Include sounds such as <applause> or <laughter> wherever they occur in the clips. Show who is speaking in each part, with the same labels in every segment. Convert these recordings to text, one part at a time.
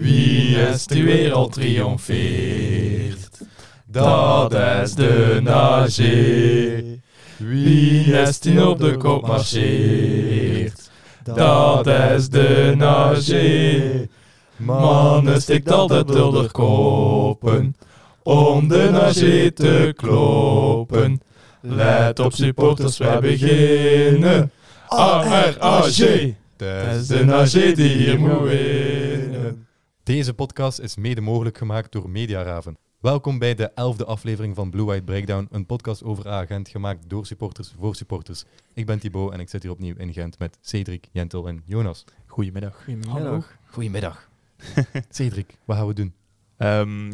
Speaker 1: Wie is de wereld triomfeert, dat is de nageer. Wie is die op de kop marcheert, dat is de nageer. Mannen stikt altijd door de koppen, om de nageer te kloppen. Let op supporters, wij beginnen. ARAG, dat is de nageer die hier moet winnen.
Speaker 2: Deze podcast is mede mogelijk gemaakt door Mediaraven. Welkom bij de elfde aflevering van Blue White Breakdown, een podcast over A-agent gemaakt door supporters voor supporters. Ik ben Thibaut en ik zit hier opnieuw in Gent met Cedric, Jentel en Jonas.
Speaker 3: Goedemiddag.
Speaker 4: Hallo.
Speaker 2: Goedemiddag. Cedric, wat gaan we doen?
Speaker 3: Ehm,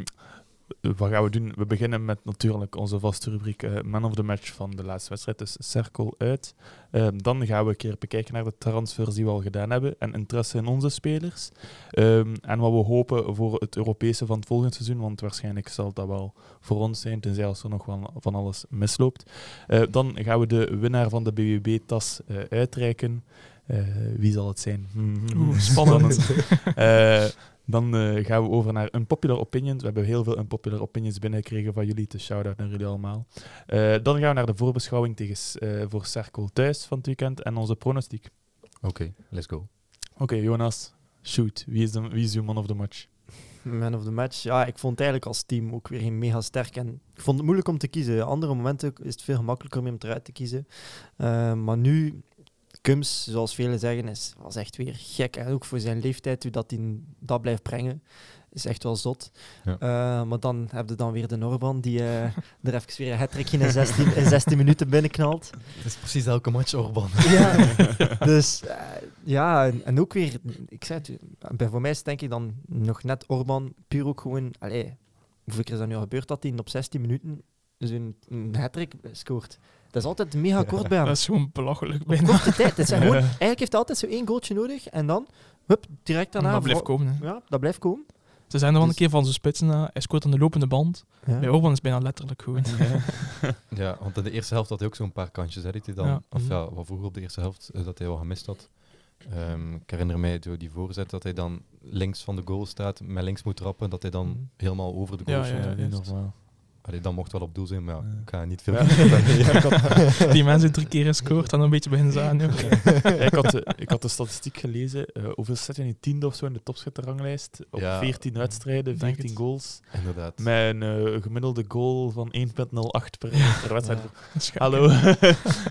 Speaker 3: wat gaan we doen? We beginnen met natuurlijk onze vaste rubriek eh, Man of the Match van de laatste wedstrijd, dus cirkel uit. Ehm, dan gaan we een keer bekijken naar de transfers die we al gedaan hebben en interesse in onze spelers. Ehm, en wat we hopen voor het Europese van het volgende seizoen, want waarschijnlijk zal dat wel voor ons zijn, tenzij als er nog wel van alles misloopt. Eh, dan gaan we de winnaar van de BWB-tas eh, uitreiken. Eh, wie zal het zijn? Mhm.
Speaker 4: Oeh,
Speaker 3: <laughs> Eh, dan eh, gaan we over naar unpopular opinions. We hebben heel veel unpopular opinions binnengekregen van jullie. Dus shout-out naar jullie allemaal. Eh, dan gaan we naar de voorbeschouwing tegen, S- eh, voor Cerkel thuis van het weekend en onze pronostiek.
Speaker 2: Oké, let's go.
Speaker 3: Oké, Jonas, shoot. Wie is, de, wie is uw man of the match?
Speaker 4: Man of the match. Ja, ik vond het eigenlijk als team ook weer geen mega sterk. En ik vond het moeilijk om te kiezen. Andere momenten is het veel gemakkelijker om hem eruit te kiezen. Eh, maar nu, Kums, zoals velen zeggen, is, was echt weer gek. En ook voor zijn leeftijd, hoe dat hij dat blijft brengen, is echt wel zot.
Speaker 2: Ja.
Speaker 4: Eh, maar dan heb je dan weer de Norban, die eh, <laughs> er even weer een hat in 16, in 16 minuten binnenknalt.
Speaker 2: Het is precies elke match, Orban.
Speaker 4: <laughs> Ja. dus eh, ja, en, en ook weer, ik zei het, u, bij- voor mij is het denk ik dan nog net Orban puur ook gewoon, allee, hoeveel keer is dat nu al gebeurd dat hij op 16 minuten zo'n een hat-trick scoort? Dat is altijd mega kort bij hem.
Speaker 1: Dat is gewoon belachelijk
Speaker 4: Op
Speaker 1: bijna.
Speaker 4: korte tijd.
Speaker 1: <laughs>
Speaker 4: Het zijn gewoon, eigenlijk heeft hij altijd zo één goaltje nodig en dan, hup, direct daarna.
Speaker 1: dat blijft
Speaker 4: voor-
Speaker 1: komen. Hè.
Speaker 4: Ja, dat blijft komen.
Speaker 1: Ze zijn er wel een
Speaker 4: Dus-
Speaker 1: keer van zijn spitsen. hè. Hij scoort aan de lopende band. Bij Orban is het bijna letterlijk gewoon.
Speaker 2: Ja, want in de eerste helft had hij ook zo'n paar kansjes, hè, dat hij dan.
Speaker 1: Ja. Mhm.
Speaker 2: Of ja, wat vroeger op de eerste helft, eh, dat hij wel gemist had. Ehm, ik herinner mij door die voorzet dat hij dan links van de goal staat, met links moet trappen, dat hij
Speaker 3: Mhm.
Speaker 2: dan helemaal over de goal
Speaker 1: Ja,
Speaker 2: shot.
Speaker 1: ja, ja.
Speaker 3: niet
Speaker 1: juist.
Speaker 3: normaal.
Speaker 2: Allee, dat mocht wel op doel zijn, maar ja,
Speaker 3: Ja.
Speaker 2: ik ga niet veel
Speaker 3: Ja.
Speaker 1: <laughs>
Speaker 2: Ja. <laughs>
Speaker 1: Die mensen drie keer gescoord en dan een beetje beginnen ze aan. joh. <laughs>
Speaker 3: Ja, ik, had de, ik had de statistiek gelezen. Eh, hoeveel staat hij in tiende of zo in de topschutterranglijst? Op
Speaker 2: Ja.
Speaker 3: 14 wedstrijden,
Speaker 1: Ik denk
Speaker 3: 14
Speaker 1: het.
Speaker 3: goals.
Speaker 2: Inderdaad.
Speaker 3: Met een eh, gemiddelde goal van 1,08 per, per wedstrijd.
Speaker 4: Ja.
Speaker 1: Dat is gek,
Speaker 3: Hallo. <laughs>
Speaker 1: hè.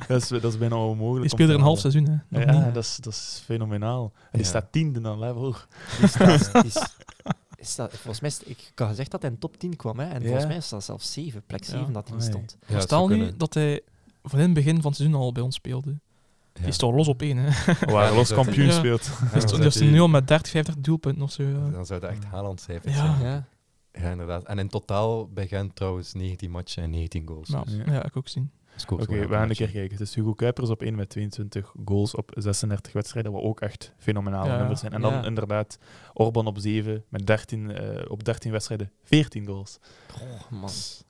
Speaker 3: dat, is, dat is bijna onmogelijk.
Speaker 1: Die
Speaker 3: om
Speaker 1: speelde
Speaker 3: te
Speaker 1: er een half
Speaker 3: halen.
Speaker 1: seizoen. Hè. Nog
Speaker 3: Ja,
Speaker 1: niet.
Speaker 3: dat is, dat is fenomenaal. En die
Speaker 2: Ja.
Speaker 3: staat tiende dan <laughs> level.
Speaker 4: Die staat- die is- is dat- volgens mij, is, ik had gezegd dat hij in top 10 kwam, hè, en
Speaker 3: Ja.
Speaker 4: volgens mij is dat zelfs 7, plek
Speaker 1: Ja.
Speaker 4: 7 dat hij
Speaker 3: Oei.
Speaker 4: stond.
Speaker 2: Ja, het
Speaker 1: Stel
Speaker 2: zou
Speaker 1: nu
Speaker 2: kunnen.
Speaker 1: dat hij van in het begin van het seizoen al bij ons speelde.
Speaker 2: Ja.
Speaker 1: Die is toch los op één. Hè. <laughs>
Speaker 3: Waar
Speaker 2: die
Speaker 3: los
Speaker 2: staat
Speaker 3: kampioen
Speaker 1: hier.
Speaker 3: speelt.
Speaker 2: Ja,
Speaker 1: Die
Speaker 2: dan
Speaker 1: is-
Speaker 2: zou
Speaker 1: die is
Speaker 2: die-
Speaker 1: nu al met 30, 50 doelpunten of zo. ja.
Speaker 2: Dan zou dat echt Haaland cijfers
Speaker 1: Ja.
Speaker 2: zijn.
Speaker 4: Ja.
Speaker 2: Ja, inderdaad. En in totaal bij Gent trouwens 19 matchen en 19 goals. Dus
Speaker 1: Ja,
Speaker 3: Ja.
Speaker 1: ja, ik ook zien.
Speaker 2: Scoort
Speaker 3: Oké,
Speaker 2: wel elke
Speaker 3: we gaan een
Speaker 2: match.
Speaker 3: keer kijken. Dus Hugo Kuipers op 1 met 22 goals op 36 wedstrijden, wat ook echt fenomenale
Speaker 1: Ja.
Speaker 3: nummers zijn. En dan
Speaker 4: Ja.
Speaker 3: inderdaad Orban op 7 met 13, eh, op 13 wedstrijden 14 goals.
Speaker 4: Oh, man. Zegt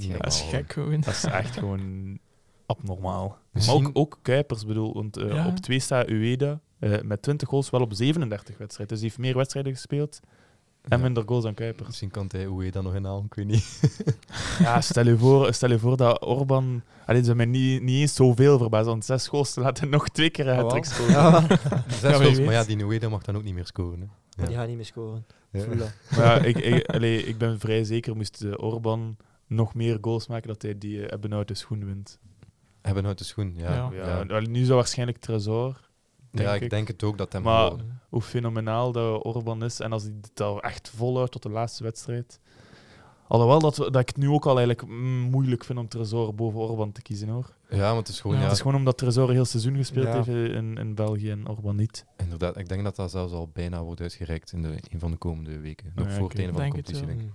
Speaker 2: Oh. Ja.
Speaker 4: gek.
Speaker 1: Dat is
Speaker 2: wel.
Speaker 1: gek gewoon.
Speaker 3: Dat is echt gewoon abnormaal. Maar
Speaker 2: Misschien-
Speaker 3: ook, ook Kuipers bedoel, want eh,
Speaker 1: Ja.
Speaker 3: op 2 staat Ueda eh, met 20 goals wel op 37 wedstrijden. Dus die heeft meer wedstrijden gespeeld en
Speaker 2: Ja.
Speaker 3: minder goals dan Kuipers.
Speaker 2: Misschien kan hij hoe je dan nog inhalen, ik weet niet.
Speaker 3: Ja, stel je voor, stel je voor dat Orban. Allee, ze hebben mij niet, niet eens zoveel verbaasd, want zes goals te laten nog twee keer
Speaker 1: Ah,
Speaker 3: een hat-trick
Speaker 4: Oh,
Speaker 3: scoren.
Speaker 4: Ja. <laughs>
Speaker 2: <laughs> Zes
Speaker 1: wie
Speaker 2: goals,
Speaker 1: weet.
Speaker 2: maar ja, die Ueda mag dan ook niet meer scoren. Hè. Ja.
Speaker 4: Die gaat niet meer scoren.
Speaker 2: Ja.
Speaker 4: Voel dat.
Speaker 3: Maar ja, ik, ik, allee, ik ben vrij zeker, moest eh, Orban nog meer goals maken, dat hij die eh, Ebbenhout de schoen wint.
Speaker 2: Hebben uit de schoen, ja.
Speaker 1: Ja.
Speaker 3: Ja.
Speaker 2: Ja, ja.
Speaker 3: allee, nu zou waarschijnlijk Trezor. denk
Speaker 2: ik
Speaker 3: ik.
Speaker 2: denk het ook dat hem
Speaker 3: Maar-
Speaker 2: wel-
Speaker 3: Hoe fenomenaal dat Orban is. En als hij dit al echt volhoudt tot de laatste wedstrijd. Alhoewel dat, we- dat ik het nu ook al eigenlijk mm, moeilijk vind om Trezor boven Orban te kiezen hoor.
Speaker 2: Ja, want het is gewoon...
Speaker 1: Ja,
Speaker 2: Ja,
Speaker 3: Het is gewoon omdat Trezor heel seizoen gespeeld
Speaker 4: Ja.
Speaker 3: heeft in, in België en Orban niet.
Speaker 2: Inderdaad, ik denk dat dat zelfs al bijna wordt uitgereikt in de, een van de komende weken. Nog
Speaker 3: Ja,
Speaker 2: voor
Speaker 3: oké.
Speaker 2: het einde van de
Speaker 1: Denk het
Speaker 2: competitie,
Speaker 4: Mm.
Speaker 1: wel.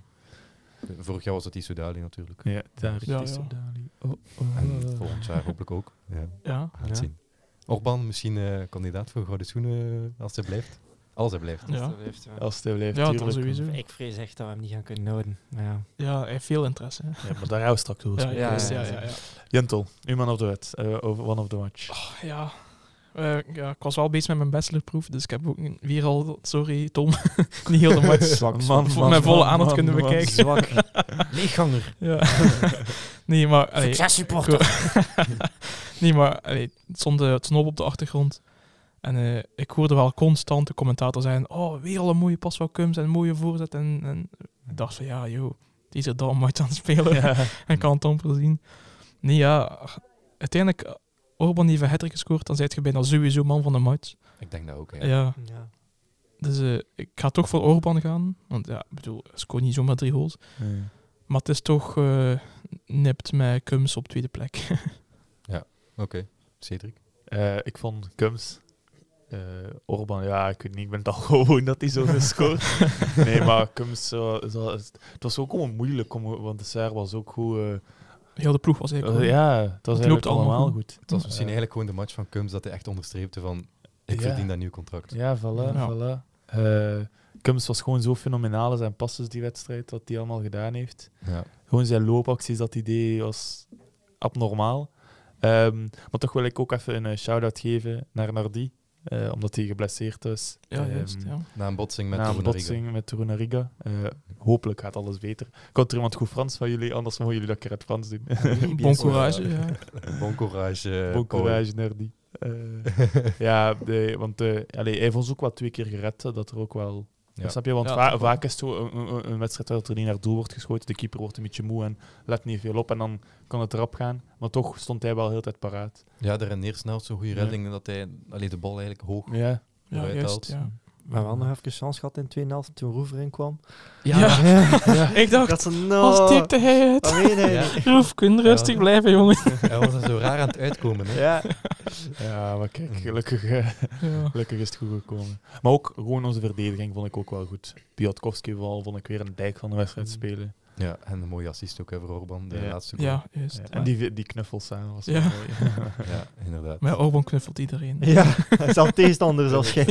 Speaker 2: denk ik. Vorig jaar was dat Isudali natuurlijk.
Speaker 3: Ja, daar
Speaker 1: Ja,
Speaker 3: is
Speaker 1: ja.
Speaker 3: Dali. Oh,
Speaker 2: En
Speaker 3: oh.
Speaker 2: volgend jaar hopelijk ook. Ja.
Speaker 1: Ja.
Speaker 2: Laat
Speaker 3: Ja.
Speaker 2: zien. Orban, misschien eh, kandidaat voor Gouden Schoenen eh, als hij blijft. Als hij blijft.
Speaker 1: Ja.
Speaker 3: Als hij blijft,
Speaker 1: Ja, dat
Speaker 3: tuurlijk.
Speaker 1: sowieso.
Speaker 4: eh, Ik vrees echt dat we hem niet gaan kunnen houden. Maar ja.
Speaker 1: Ja, hij heeft veel interesse. hè.
Speaker 3: Ja, maar daar gaan we straks over
Speaker 1: Ja,
Speaker 3: spreken.
Speaker 1: ja,
Speaker 4: ja,
Speaker 1: ja.
Speaker 4: ja,
Speaker 1: ja, ja.
Speaker 3: <laughs> Jentel, uw man of the wet, eh, over one of the match.
Speaker 1: Ja, Eh, ja, ik was wel bezig met mijn bachelorproef, dus ik heb ook een- weer al, sorry Tom, <laughs> niet heel de match
Speaker 4: Zwak,
Speaker 3: Man,
Speaker 1: voor
Speaker 3: man,
Speaker 1: mijn volle
Speaker 3: man,
Speaker 1: aandacht
Speaker 3: man, man.
Speaker 1: kunnen bekijken.
Speaker 4: <laughs>
Speaker 1: <laughs>
Speaker 4: Zwak. Leegganger.
Speaker 1: Ja. <laughs> nee, maar... allee,
Speaker 4: Successupporter.
Speaker 1: <laughs> nee, maar allee, het stond eh, het snob op de achtergrond. En eh, ik hoorde wel constant de commentator zeggen, oh, weer al een mooie pas van Kums en een mooie voorzet. En, en ik dacht van, ja, joh, die is er dan uit aan het spelen. <laughs> En kan het amper zien. Nee, ja, uiteindelijk, Orban heeft een hattrick gescoord, dan zijt je bijna sowieso man van de match.
Speaker 2: Ik denk dat ook, ja.
Speaker 1: Ja.
Speaker 4: Ja.
Speaker 1: Dus eh, ik ga toch voor Orban gaan. Want ja, ik bedoel, hij scoort niet zomaar drie goals. Maar het is toch eh, nipt met Kums op tweede plek. <laughs>
Speaker 2: Cedric?
Speaker 3: Eh, ik vond Kums, eh, Orban, ja, ik weet niet, ik ben het al <laughs> gewoon dat hij zo gescoord.
Speaker 2: <laughs>
Speaker 3: nee, maar Kums, zo, zo- het was ook gewoon moeilijk, om, want de Serre was ook goed. eh,
Speaker 1: Heel de ploeg was eigenlijk... goed.
Speaker 3: ja, het was
Speaker 1: loopt
Speaker 3: eigenlijk
Speaker 1: allemaal
Speaker 3: allemaal
Speaker 1: goed.
Speaker 3: goed.
Speaker 2: Het was misschien
Speaker 3: Eh,
Speaker 2: eigenlijk gewoon de match van Kums dat hij echt onderstreepte van ik
Speaker 3: Ja.
Speaker 2: verdien dat nieuw contract.
Speaker 3: Ja, voilà,
Speaker 1: Ja.
Speaker 3: voilà. Eh, Kums was gewoon zo fenomenaal in zijn passes die wedstrijd, wat hij allemaal gedaan heeft.
Speaker 2: Ja.
Speaker 3: Gewoon zijn loopacties, dat idee was abnormaal. Ehm, maar toch wil ik ook even een eh, shout-out geven naar Nardi, eh, omdat hij geblesseerd is.
Speaker 1: Ja,
Speaker 3: Ehm,
Speaker 1: juist, ja.
Speaker 2: Na een botsing met
Speaker 3: na een
Speaker 2: Torunariga.
Speaker 3: botsing met Torunariga. Eh, hopelijk gaat alles beter. Komt er iemand goed Frans van jullie? Anders mogen jullie dat keer het Frans
Speaker 2: Eh,
Speaker 3: <laughs> doen.
Speaker 1: Bon courage, ja.
Speaker 2: Bon courage. eh,
Speaker 3: Bon
Speaker 2: Paul. <laughs>
Speaker 3: courage, Nardi. Eh, ja, nee, want eh, allee, hij heeft ons ook wel twee keer gered. hè, Dat er ook wel...
Speaker 2: Ja.
Speaker 3: Snap je? Want
Speaker 1: Ja,
Speaker 3: va-
Speaker 1: toch wel.
Speaker 3: vaak is het zo een, een- een wedstrijd dat er niet naar doel wordt geschoten. De keeper wordt een beetje moe en let niet veel op. En dan kan het erop gaan. Maar toch stond hij wel heel de tijd paraat.
Speaker 2: Ja, daar neer snel zo'n goede
Speaker 3: Ja.
Speaker 2: redding dat hij alleen de bal eigenlijk hoog.
Speaker 3: Ja.
Speaker 1: Ja,
Speaker 2: Vooruit
Speaker 1: juist,
Speaker 2: haalt.
Speaker 1: ja.
Speaker 4: We hebben wel nog even chance gehad in de tweede helft toen Roever inkwam.
Speaker 1: <laughs> Ja. Ik dacht,
Speaker 4: Dat ze no.
Speaker 1: als tikte hij het.
Speaker 4: Oh, nee, nee,
Speaker 2: Ja.
Speaker 4: nee.
Speaker 1: Roef, kun rustig
Speaker 2: Ja.
Speaker 1: blijven, jongen.
Speaker 2: Hij was er zo raar aan het uitkomen. Hè?
Speaker 4: Ja.
Speaker 3: ja, maar
Speaker 2: Mm.
Speaker 3: kijk, gelukkig, eh,
Speaker 1: Ja.
Speaker 3: gelukkig is het goed gekomen. Maar ook gewoon onze verdediging vond ik ook wel goed. Piotkowski vooral vond ik weer een dijk van de wedstrijd
Speaker 2: Mm.
Speaker 3: spelen.
Speaker 2: Ja, en een mooie assist ook hè, voor Orban, de
Speaker 3: Ja.
Speaker 2: laatste goal.
Speaker 1: ja, juist.
Speaker 3: Ja, en die, die knuffels samen was wel
Speaker 1: Ja.
Speaker 3: mooi. <laughs>
Speaker 2: Ja, inderdaad.
Speaker 1: Maar Orban knuffelt iedereen.
Speaker 4: <laughs> Ja, zelfs tegenstanders als <laughs> jij.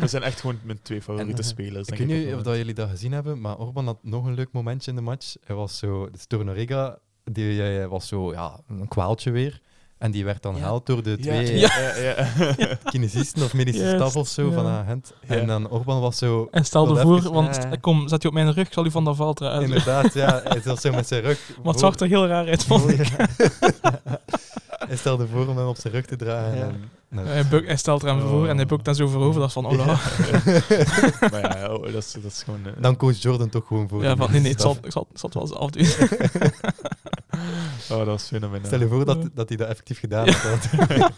Speaker 3: We zijn echt gewoon mijn twee favoriete
Speaker 2: En, eh,
Speaker 3: spelers.
Speaker 2: Ik
Speaker 3: denk
Speaker 2: weet niet
Speaker 3: op het
Speaker 2: of dat
Speaker 3: moment.
Speaker 2: jullie dat gezien hebben, maar Orban had nog een leuk momentje in de match. Hij was zo, dus Torunariga, die eh, was zo, ja, een kwaaltje weer. En die werd dan
Speaker 1: Ja.
Speaker 2: gehaald door de twee eh,
Speaker 3: Ja, ja, ja.
Speaker 1: <laughs>
Speaker 3: <laughs>
Speaker 2: kinesisten of medische
Speaker 1: Juist,
Speaker 2: staf of zo
Speaker 1: ja.
Speaker 2: van agent.
Speaker 3: Ja.
Speaker 2: En dan Orban was zo...
Speaker 1: En stel
Speaker 2: Wel
Speaker 1: ervoor,
Speaker 2: even-
Speaker 1: want
Speaker 4: Ja, ja.
Speaker 1: kom, zet je op mijn rug, ik zal u van dat valt <laughs> eruit.
Speaker 2: Inderdaad, ja. Hij zat zo met zijn
Speaker 1: <laughs>
Speaker 2: rug...
Speaker 1: Maar het
Speaker 2: voor-
Speaker 1: zag er heel raar uit, vond ik.
Speaker 2: <laughs> Hij stelde voor om hem op zijn rug te dragen.
Speaker 4: Ja.
Speaker 2: En, nou,
Speaker 1: Hij, buk- hij stelt er hem
Speaker 3: Oh.
Speaker 1: voor en hij bukt daar zo voor over. Dat is van, oh, la. <laughs>
Speaker 3: maar ja, oh, dat, is, dat is gewoon... eh,
Speaker 2: Dan koos Jordan toch gewoon voor.
Speaker 1: Ja,
Speaker 2: de
Speaker 1: van, nee, nee, ik
Speaker 2: staf.
Speaker 1: zal, ik zal, ik zal het wel eens afdoen.
Speaker 3: oh, dat is fenomenaal.
Speaker 2: Stel je voor dat, dat hij dat effectief gedaan had. want-
Speaker 1: <laughs>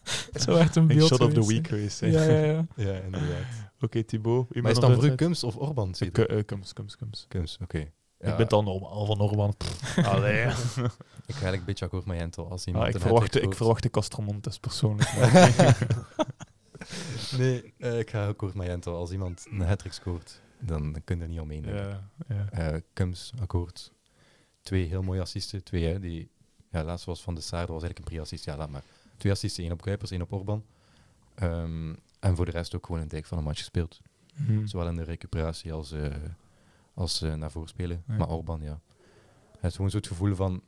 Speaker 2: <laughs>
Speaker 1: Zo echt een
Speaker 3: Een
Speaker 1: beeld
Speaker 3: shot of the
Speaker 1: geweest,
Speaker 3: week geweest.
Speaker 1: hè.
Speaker 3: hè.
Speaker 1: Ja, ja, ja.
Speaker 2: ja, inderdaad.
Speaker 3: <laughs> Oké, Thibaut.
Speaker 2: Maar
Speaker 3: iemand
Speaker 2: is
Speaker 3: op
Speaker 2: dan
Speaker 3: de
Speaker 2: voor u
Speaker 3: wedstrijd?
Speaker 2: Kums of Orban? Cedric?
Speaker 3: K- eh, Kums, Kums, Kums.
Speaker 2: Kums, oké. Ja,
Speaker 3: Ik ben dan normaal van Orban.
Speaker 2: <laughs>
Speaker 3: Pff, Allee.
Speaker 2: Ik ga eigenlijk een beetje akkoord met Jentel. Als iemand
Speaker 3: Ah, ik,
Speaker 2: een
Speaker 3: verwachtte, ik
Speaker 2: hat-trick
Speaker 3: verwachtte Castromontes
Speaker 2: <laughs>
Speaker 3: persoonlijk. maar-
Speaker 2: scoort- Nee, eh, ik ga akkoord met Jentel. Als iemand een hat-trick scoort, dan kun je er niet omheen. denk ik.
Speaker 3: ja, ja.
Speaker 2: Eh, Kums, akkoord. Twee heel mooie assisten. Twee, hè, die... Ja, laatst was Van de Saar, dat was eigenlijk een pre-assist. Ja, laat maar. Twee assisten, één op Kuipers, één op Orban. Ehm, en voor de rest ook gewoon een dijk van een match gespeeld.
Speaker 3: Mm. Mhm.
Speaker 2: Zowel in de recuperatie als, eh, als eh, naar voren spelen.
Speaker 3: Ja.
Speaker 2: Maar Orban, ja. Het is gewoon zo het gevoel van...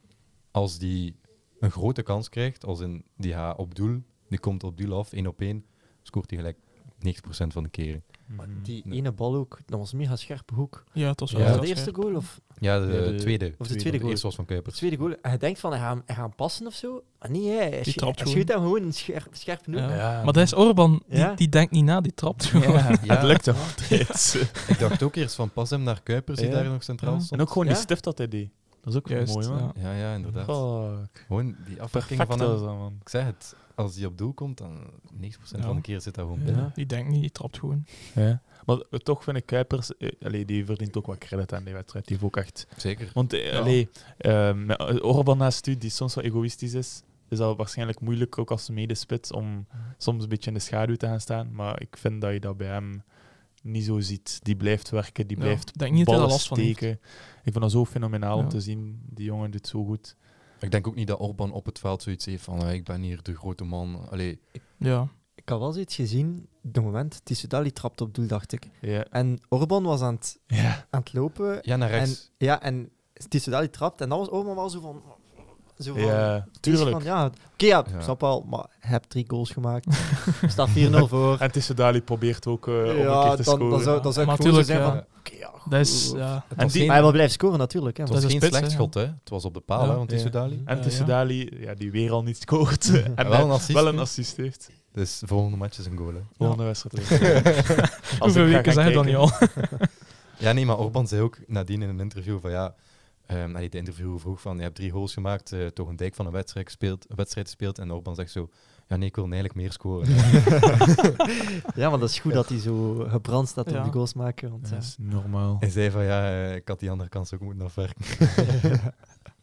Speaker 2: Als die een grote kans krijgt, als in die gaat op doel, die komt op doel af, één op één, scoort hij gelijk 90% van de keren.
Speaker 4: Maar
Speaker 3: Mhm.
Speaker 4: die ene bal ook, dat was een mega scherpe hoek.
Speaker 1: Ja, het was wel
Speaker 4: Was
Speaker 2: Ja.
Speaker 4: dat
Speaker 1: heel
Speaker 4: de eerste
Speaker 1: scherp.
Speaker 4: goal of
Speaker 2: Ja, de,
Speaker 3: Ja, de-
Speaker 2: tweede.
Speaker 4: of de tweede
Speaker 2: De
Speaker 4: goal?
Speaker 2: eerste was van
Speaker 4: de
Speaker 2: Kuipers.
Speaker 4: tweede goal? En je denkt van, hij gaat, hem- hij gaat hem passen of zo. Maar nee, hij, hij,
Speaker 1: Die
Speaker 4: schiet-
Speaker 1: trapt
Speaker 4: hij
Speaker 1: gewoon.
Speaker 4: schiet hem gewoon een scherp, scherp noek.
Speaker 1: Ja.
Speaker 3: Ja,
Speaker 1: Maar dat is Orban, die,
Speaker 4: Ja.
Speaker 1: die denkt niet na, die trapt gewoon.
Speaker 3: <laughs>
Speaker 1: Ja,
Speaker 2: Ja.
Speaker 3: Het
Speaker 2: <laughs>
Speaker 3: lukt hem altijd.
Speaker 2: Ik dacht ook eerst van pas hem naar Kuipers, die
Speaker 3: Ja.
Speaker 2: daar nog centraal
Speaker 1: Ja.
Speaker 2: stond.
Speaker 3: en ook gewoon
Speaker 4: Ja?
Speaker 3: die stift dat hij deed. Dat is ook wel
Speaker 1: Juist,
Speaker 3: mooi, man.
Speaker 1: ja.
Speaker 2: Ja, ja, inderdaad.
Speaker 3: Fuck.
Speaker 2: Gewoon die afwerking
Speaker 3: Perfect
Speaker 2: van
Speaker 3: was
Speaker 2: hem.
Speaker 3: dat, man.
Speaker 2: Ik zeg het, als die op doel komt, dan 90%
Speaker 1: Ja.
Speaker 2: van de keer zit dat gewoon binnen.
Speaker 1: Die denkt niet, die trapt gewoon.
Speaker 3: Ja. Maar toch vind ik Kuipers... eh, allee, die verdient ook wat credit aan die wedstrijd. Die heeft ook echt
Speaker 2: Zeker.
Speaker 3: Want eh, allee, eh, met Orban naast u, die soms wel egoïstisch is, is dat waarschijnlijk moeilijk, ook als medespits, om soms een beetje in de schaduw te gaan staan. Maar ik vind dat je dat bij hem niet zo ziet. Die blijft werken, die
Speaker 1: Ja,
Speaker 3: blijft
Speaker 1: ik denk niet dat hij
Speaker 3: ballen
Speaker 1: daar last van heeft.
Speaker 3: steken. Ik vind dat zo fenomenaal
Speaker 1: Ja.
Speaker 3: om te zien. Die jongen doet zo goed.
Speaker 2: Ik denk ook niet dat Orban op het veld zoiets heeft van eh, ik ben hier de grote man. Allee,
Speaker 1: Ja,
Speaker 4: Ik had wel zoiets gezien, op het moment, Tissoudali trapt op doel, dacht ik.
Speaker 3: Ja.
Speaker 4: En Orban was aan het,
Speaker 3: Ja.
Speaker 4: aan het lopen.
Speaker 2: ja, naar
Speaker 4: En,
Speaker 2: rechts.
Speaker 4: ja, en Tissoudali trapt. En dan was Orban wel zo van... Zo van,
Speaker 3: Ja,
Speaker 4: deze
Speaker 3: tuurlijk.
Speaker 4: van, ja, oké, ja,
Speaker 2: Ja.
Speaker 4: snap al, maar heb drie goals
Speaker 3: <laughs>
Speaker 4: gemaakt. staat 4-0 voor.
Speaker 3: En Tissedali probeert ook eh, om een
Speaker 4: ja,
Speaker 3: keer te
Speaker 4: dan,
Speaker 3: scoren.
Speaker 4: dan zou, dan zou ik
Speaker 1: Maar
Speaker 4: gewoon zo
Speaker 1: tuurlijk,
Speaker 4: zijn
Speaker 1: ja.
Speaker 4: van, oké, ja, goed.
Speaker 1: Dat is, ja.
Speaker 2: Het
Speaker 3: En
Speaker 2: was
Speaker 3: die-
Speaker 2: geen,
Speaker 4: Maar hij wil blijven scoren natuurlijk, hè.
Speaker 2: het
Speaker 1: Dat
Speaker 2: was
Speaker 1: is
Speaker 2: geen
Speaker 1: een spits,
Speaker 2: slecht
Speaker 1: hè,
Speaker 2: schot, hè. Het was op de paal,
Speaker 1: Ja.
Speaker 2: hè, want die
Speaker 1: Ja.
Speaker 2: Soudali.
Speaker 3: En
Speaker 1: Eh, Ja,
Speaker 3: Tissedali, ja, die weer al niet scoort.
Speaker 1: <laughs>
Speaker 3: en
Speaker 2: wel
Speaker 3: wel
Speaker 2: een
Speaker 3: een,
Speaker 2: assist,
Speaker 3: wel
Speaker 2: hè?
Speaker 3: een assist heeft.
Speaker 2: Dus volgende match is een goal, hè. <laughs>
Speaker 3: Volgende wedstrijd.
Speaker 1: Hoeveel weken zijn we dan niet al?
Speaker 2: Ja, nee, maar Orban zei ook nadien in een interview van ja... ehm allee, de interviewer vroeg van, je hebt drie goals gemaakt, eh, toch een dijk van een wedstrijd gespeeld, een wedstrijd gespeeld. En Orban zegt zo, ja nee, ik wil eigenlijk meer scoren.
Speaker 4: Ja, maar dat is goed dat hij zo gebrand staat om
Speaker 1: Ja.
Speaker 4: die goals maken. Want, ja.
Speaker 3: Dat is normaal.
Speaker 2: en zei van, ja, eh, ik had die andere kans ook moeten afwerken.
Speaker 1: <laughs>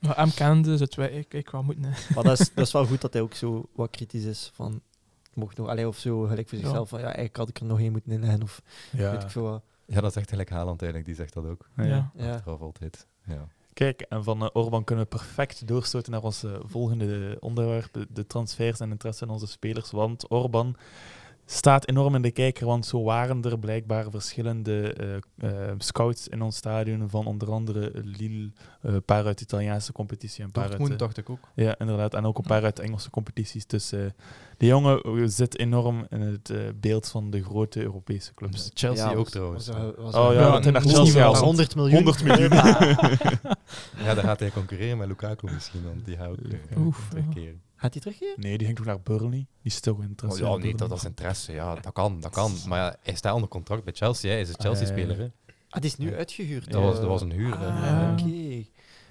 Speaker 1: Maar hem kende, dus het wij, ik, ik wel moeten. hè.
Speaker 4: Maar dat is, dat is wel goed dat hij ook zo wat kritisch is van... het Mocht nog, allee, of zo, gelijk voor
Speaker 1: Ja.
Speaker 4: zichzelf. Van, ja, eigenlijk had ik er nog één moeten inleggen. Of weet
Speaker 3: Ja.
Speaker 4: ik veel wat.
Speaker 2: Ja, dat is echt gelijk Haaland eigenlijk, die zegt dat ook.
Speaker 3: Ja.
Speaker 1: Ja.
Speaker 4: Ja.
Speaker 2: Achteraf altijd. Ja.
Speaker 3: Kijk, en van eh, Orban kunnen we perfect doorstoten naar ons eh, volgende onderwerp, de, de transfers en interesse in onze spelers. Want Orban staat enorm in de kijker, want zo waren er blijkbaar verschillende eh, eh, scouts in ons stadion, van onder andere Lille, eh, een paar uit de Italiaanse competitie en een paar uit...
Speaker 2: Dortmund
Speaker 3: eh,
Speaker 2: dacht ik ook.
Speaker 3: Ja, inderdaad. En ook een paar uit de Engelse competities. Dus eh, die jongen eh, zit enorm in het eh, beeld van de grote Europese clubs.
Speaker 2: Chelsea
Speaker 4: Ja,
Speaker 2: ook
Speaker 4: was-
Speaker 2: trouwens.
Speaker 4: was er- was
Speaker 3: Oh
Speaker 4: er-
Speaker 3: ja, want hij naar
Speaker 1: dat is
Speaker 4: was
Speaker 1: niet
Speaker 3: Chelsea
Speaker 1: wel.
Speaker 4: was
Speaker 3: haalt.
Speaker 4: 100 miljoen.
Speaker 3: 100
Speaker 4: <laughs>
Speaker 3: miljoen.
Speaker 2: Ja, daar gaat hij concurreren met Lukaku misschien, want die gaat ook eh,
Speaker 1: Oef,
Speaker 2: twee
Speaker 1: ja.
Speaker 2: keer.
Speaker 4: Gaat hij terug hier?
Speaker 3: Nee, die ging toch naar Burnley. Die is toch in het
Speaker 2: Oh, ja, nee, dat is interesse. Ja, dat kan, dat kan. Maar ja, hij staat onder contract bij Chelsea. hè. Hij is een
Speaker 3: Ah, ja, ja, ja.
Speaker 2: Chelsea-speler. hè.
Speaker 4: Ah, die is nu
Speaker 2: Ja.
Speaker 4: uitgehuurd.
Speaker 2: Dat
Speaker 4: eh.
Speaker 2: was, dat was een huur. hè.
Speaker 4: Ah,
Speaker 2: Ja.
Speaker 4: oké.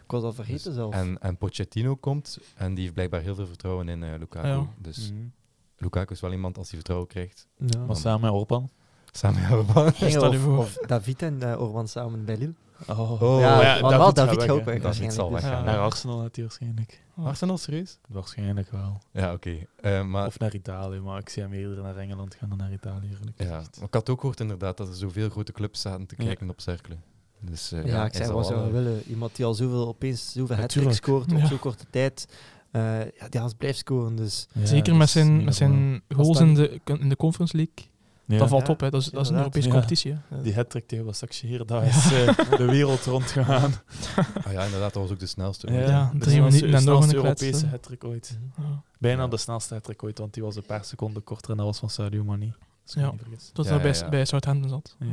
Speaker 4: Ik was al vergeten
Speaker 2: Dus-
Speaker 4: zelf.
Speaker 2: En, en Pochettino komt en die heeft blijkbaar heel veel vertrouwen in eh, Lukaku.
Speaker 1: Ja.
Speaker 2: Dus
Speaker 3: Mm.
Speaker 2: Lukaku is wel iemand als hij vertrouwen krijgt.
Speaker 4: Ja.
Speaker 3: Mhm. Maar samen met Orban.
Speaker 2: Samen met Orban. <laughs>
Speaker 4: Gingen
Speaker 1: Stel je
Speaker 4: of,
Speaker 1: voor.
Speaker 4: of David en eh, Orban samen bij Lille.
Speaker 3: Oh.
Speaker 2: Oh.
Speaker 4: ja,
Speaker 2: maar
Speaker 4: maar
Speaker 3: ja, David
Speaker 4: wel
Speaker 3: gaat
Speaker 4: David
Speaker 3: weg,
Speaker 4: gaat ook
Speaker 3: hè.
Speaker 4: weg
Speaker 2: David zal
Speaker 4: waarschijnlijk,
Speaker 2: weggaan.
Speaker 1: Ja.
Speaker 3: Naar Arsenal gaat hij waarschijnlijk.
Speaker 2: Oh. Arsenal, serieus?
Speaker 3: Waarschijnlijk wel.
Speaker 2: Ja, oké. Eh, maar
Speaker 3: Of naar Italië, maar ik zie hem eerder naar Engeland gaan dan naar Italië. eerlijk
Speaker 2: Ja,
Speaker 3: gezegd.
Speaker 2: maar ik had ook gehoord inderdaad dat er zoveel grote clubs zaten te
Speaker 3: Ja.
Speaker 2: kijken op cirkelen. Dus, eh,
Speaker 4: dus. Ja, ik
Speaker 2: hij
Speaker 4: zei,
Speaker 2: zal
Speaker 4: wat zou
Speaker 2: wel,
Speaker 4: we
Speaker 2: eh,
Speaker 4: willen? Iemand die al zoveel, opeens zoveel hat
Speaker 3: Natuurlijk.
Speaker 4: scoort op
Speaker 1: Ja.
Speaker 4: zo'n korte tijd. Eh, ja, die gaat blijft scoren, dus...
Speaker 3: Ja,
Speaker 1: Zeker
Speaker 3: dat
Speaker 1: met
Speaker 3: is niet
Speaker 1: zijn, met
Speaker 3: normaal.
Speaker 1: zijn goals
Speaker 4: dan-
Speaker 1: in de, in de Conference League.
Speaker 3: Ja.
Speaker 1: Dat valt
Speaker 4: Ja,
Speaker 1: op, hè. Dat is, dat is een
Speaker 4: inderdaad.
Speaker 1: Europese
Speaker 3: Ja.
Speaker 1: competitie. Hè.
Speaker 3: Die hat-trick tegen Basakshehir, daar is eh, de wereld
Speaker 2: <laughs>
Speaker 3: rondgegaan.
Speaker 2: Ah ja, inderdaad, dat was ook de snelste.
Speaker 1: Ja,
Speaker 2: ooit.
Speaker 3: de
Speaker 1: drie
Speaker 3: snelste-
Speaker 1: minuten en
Speaker 3: de
Speaker 1: nog
Speaker 3: snelste
Speaker 1: een kwets,
Speaker 3: Europese
Speaker 1: hè.
Speaker 3: hat-trick ooit.
Speaker 1: Ja.
Speaker 3: Bijna
Speaker 2: Ja.
Speaker 3: de snelste hat-trick ooit, want die was een paar seconden korter en dat was van Sadio Mani. Als ik
Speaker 1: Ja.
Speaker 3: me niet vergis.
Speaker 1: Dat
Speaker 2: Ja,
Speaker 1: hij
Speaker 2: ja,
Speaker 1: bij,
Speaker 2: ja.
Speaker 1: bij Southampton zat.
Speaker 3: Ja.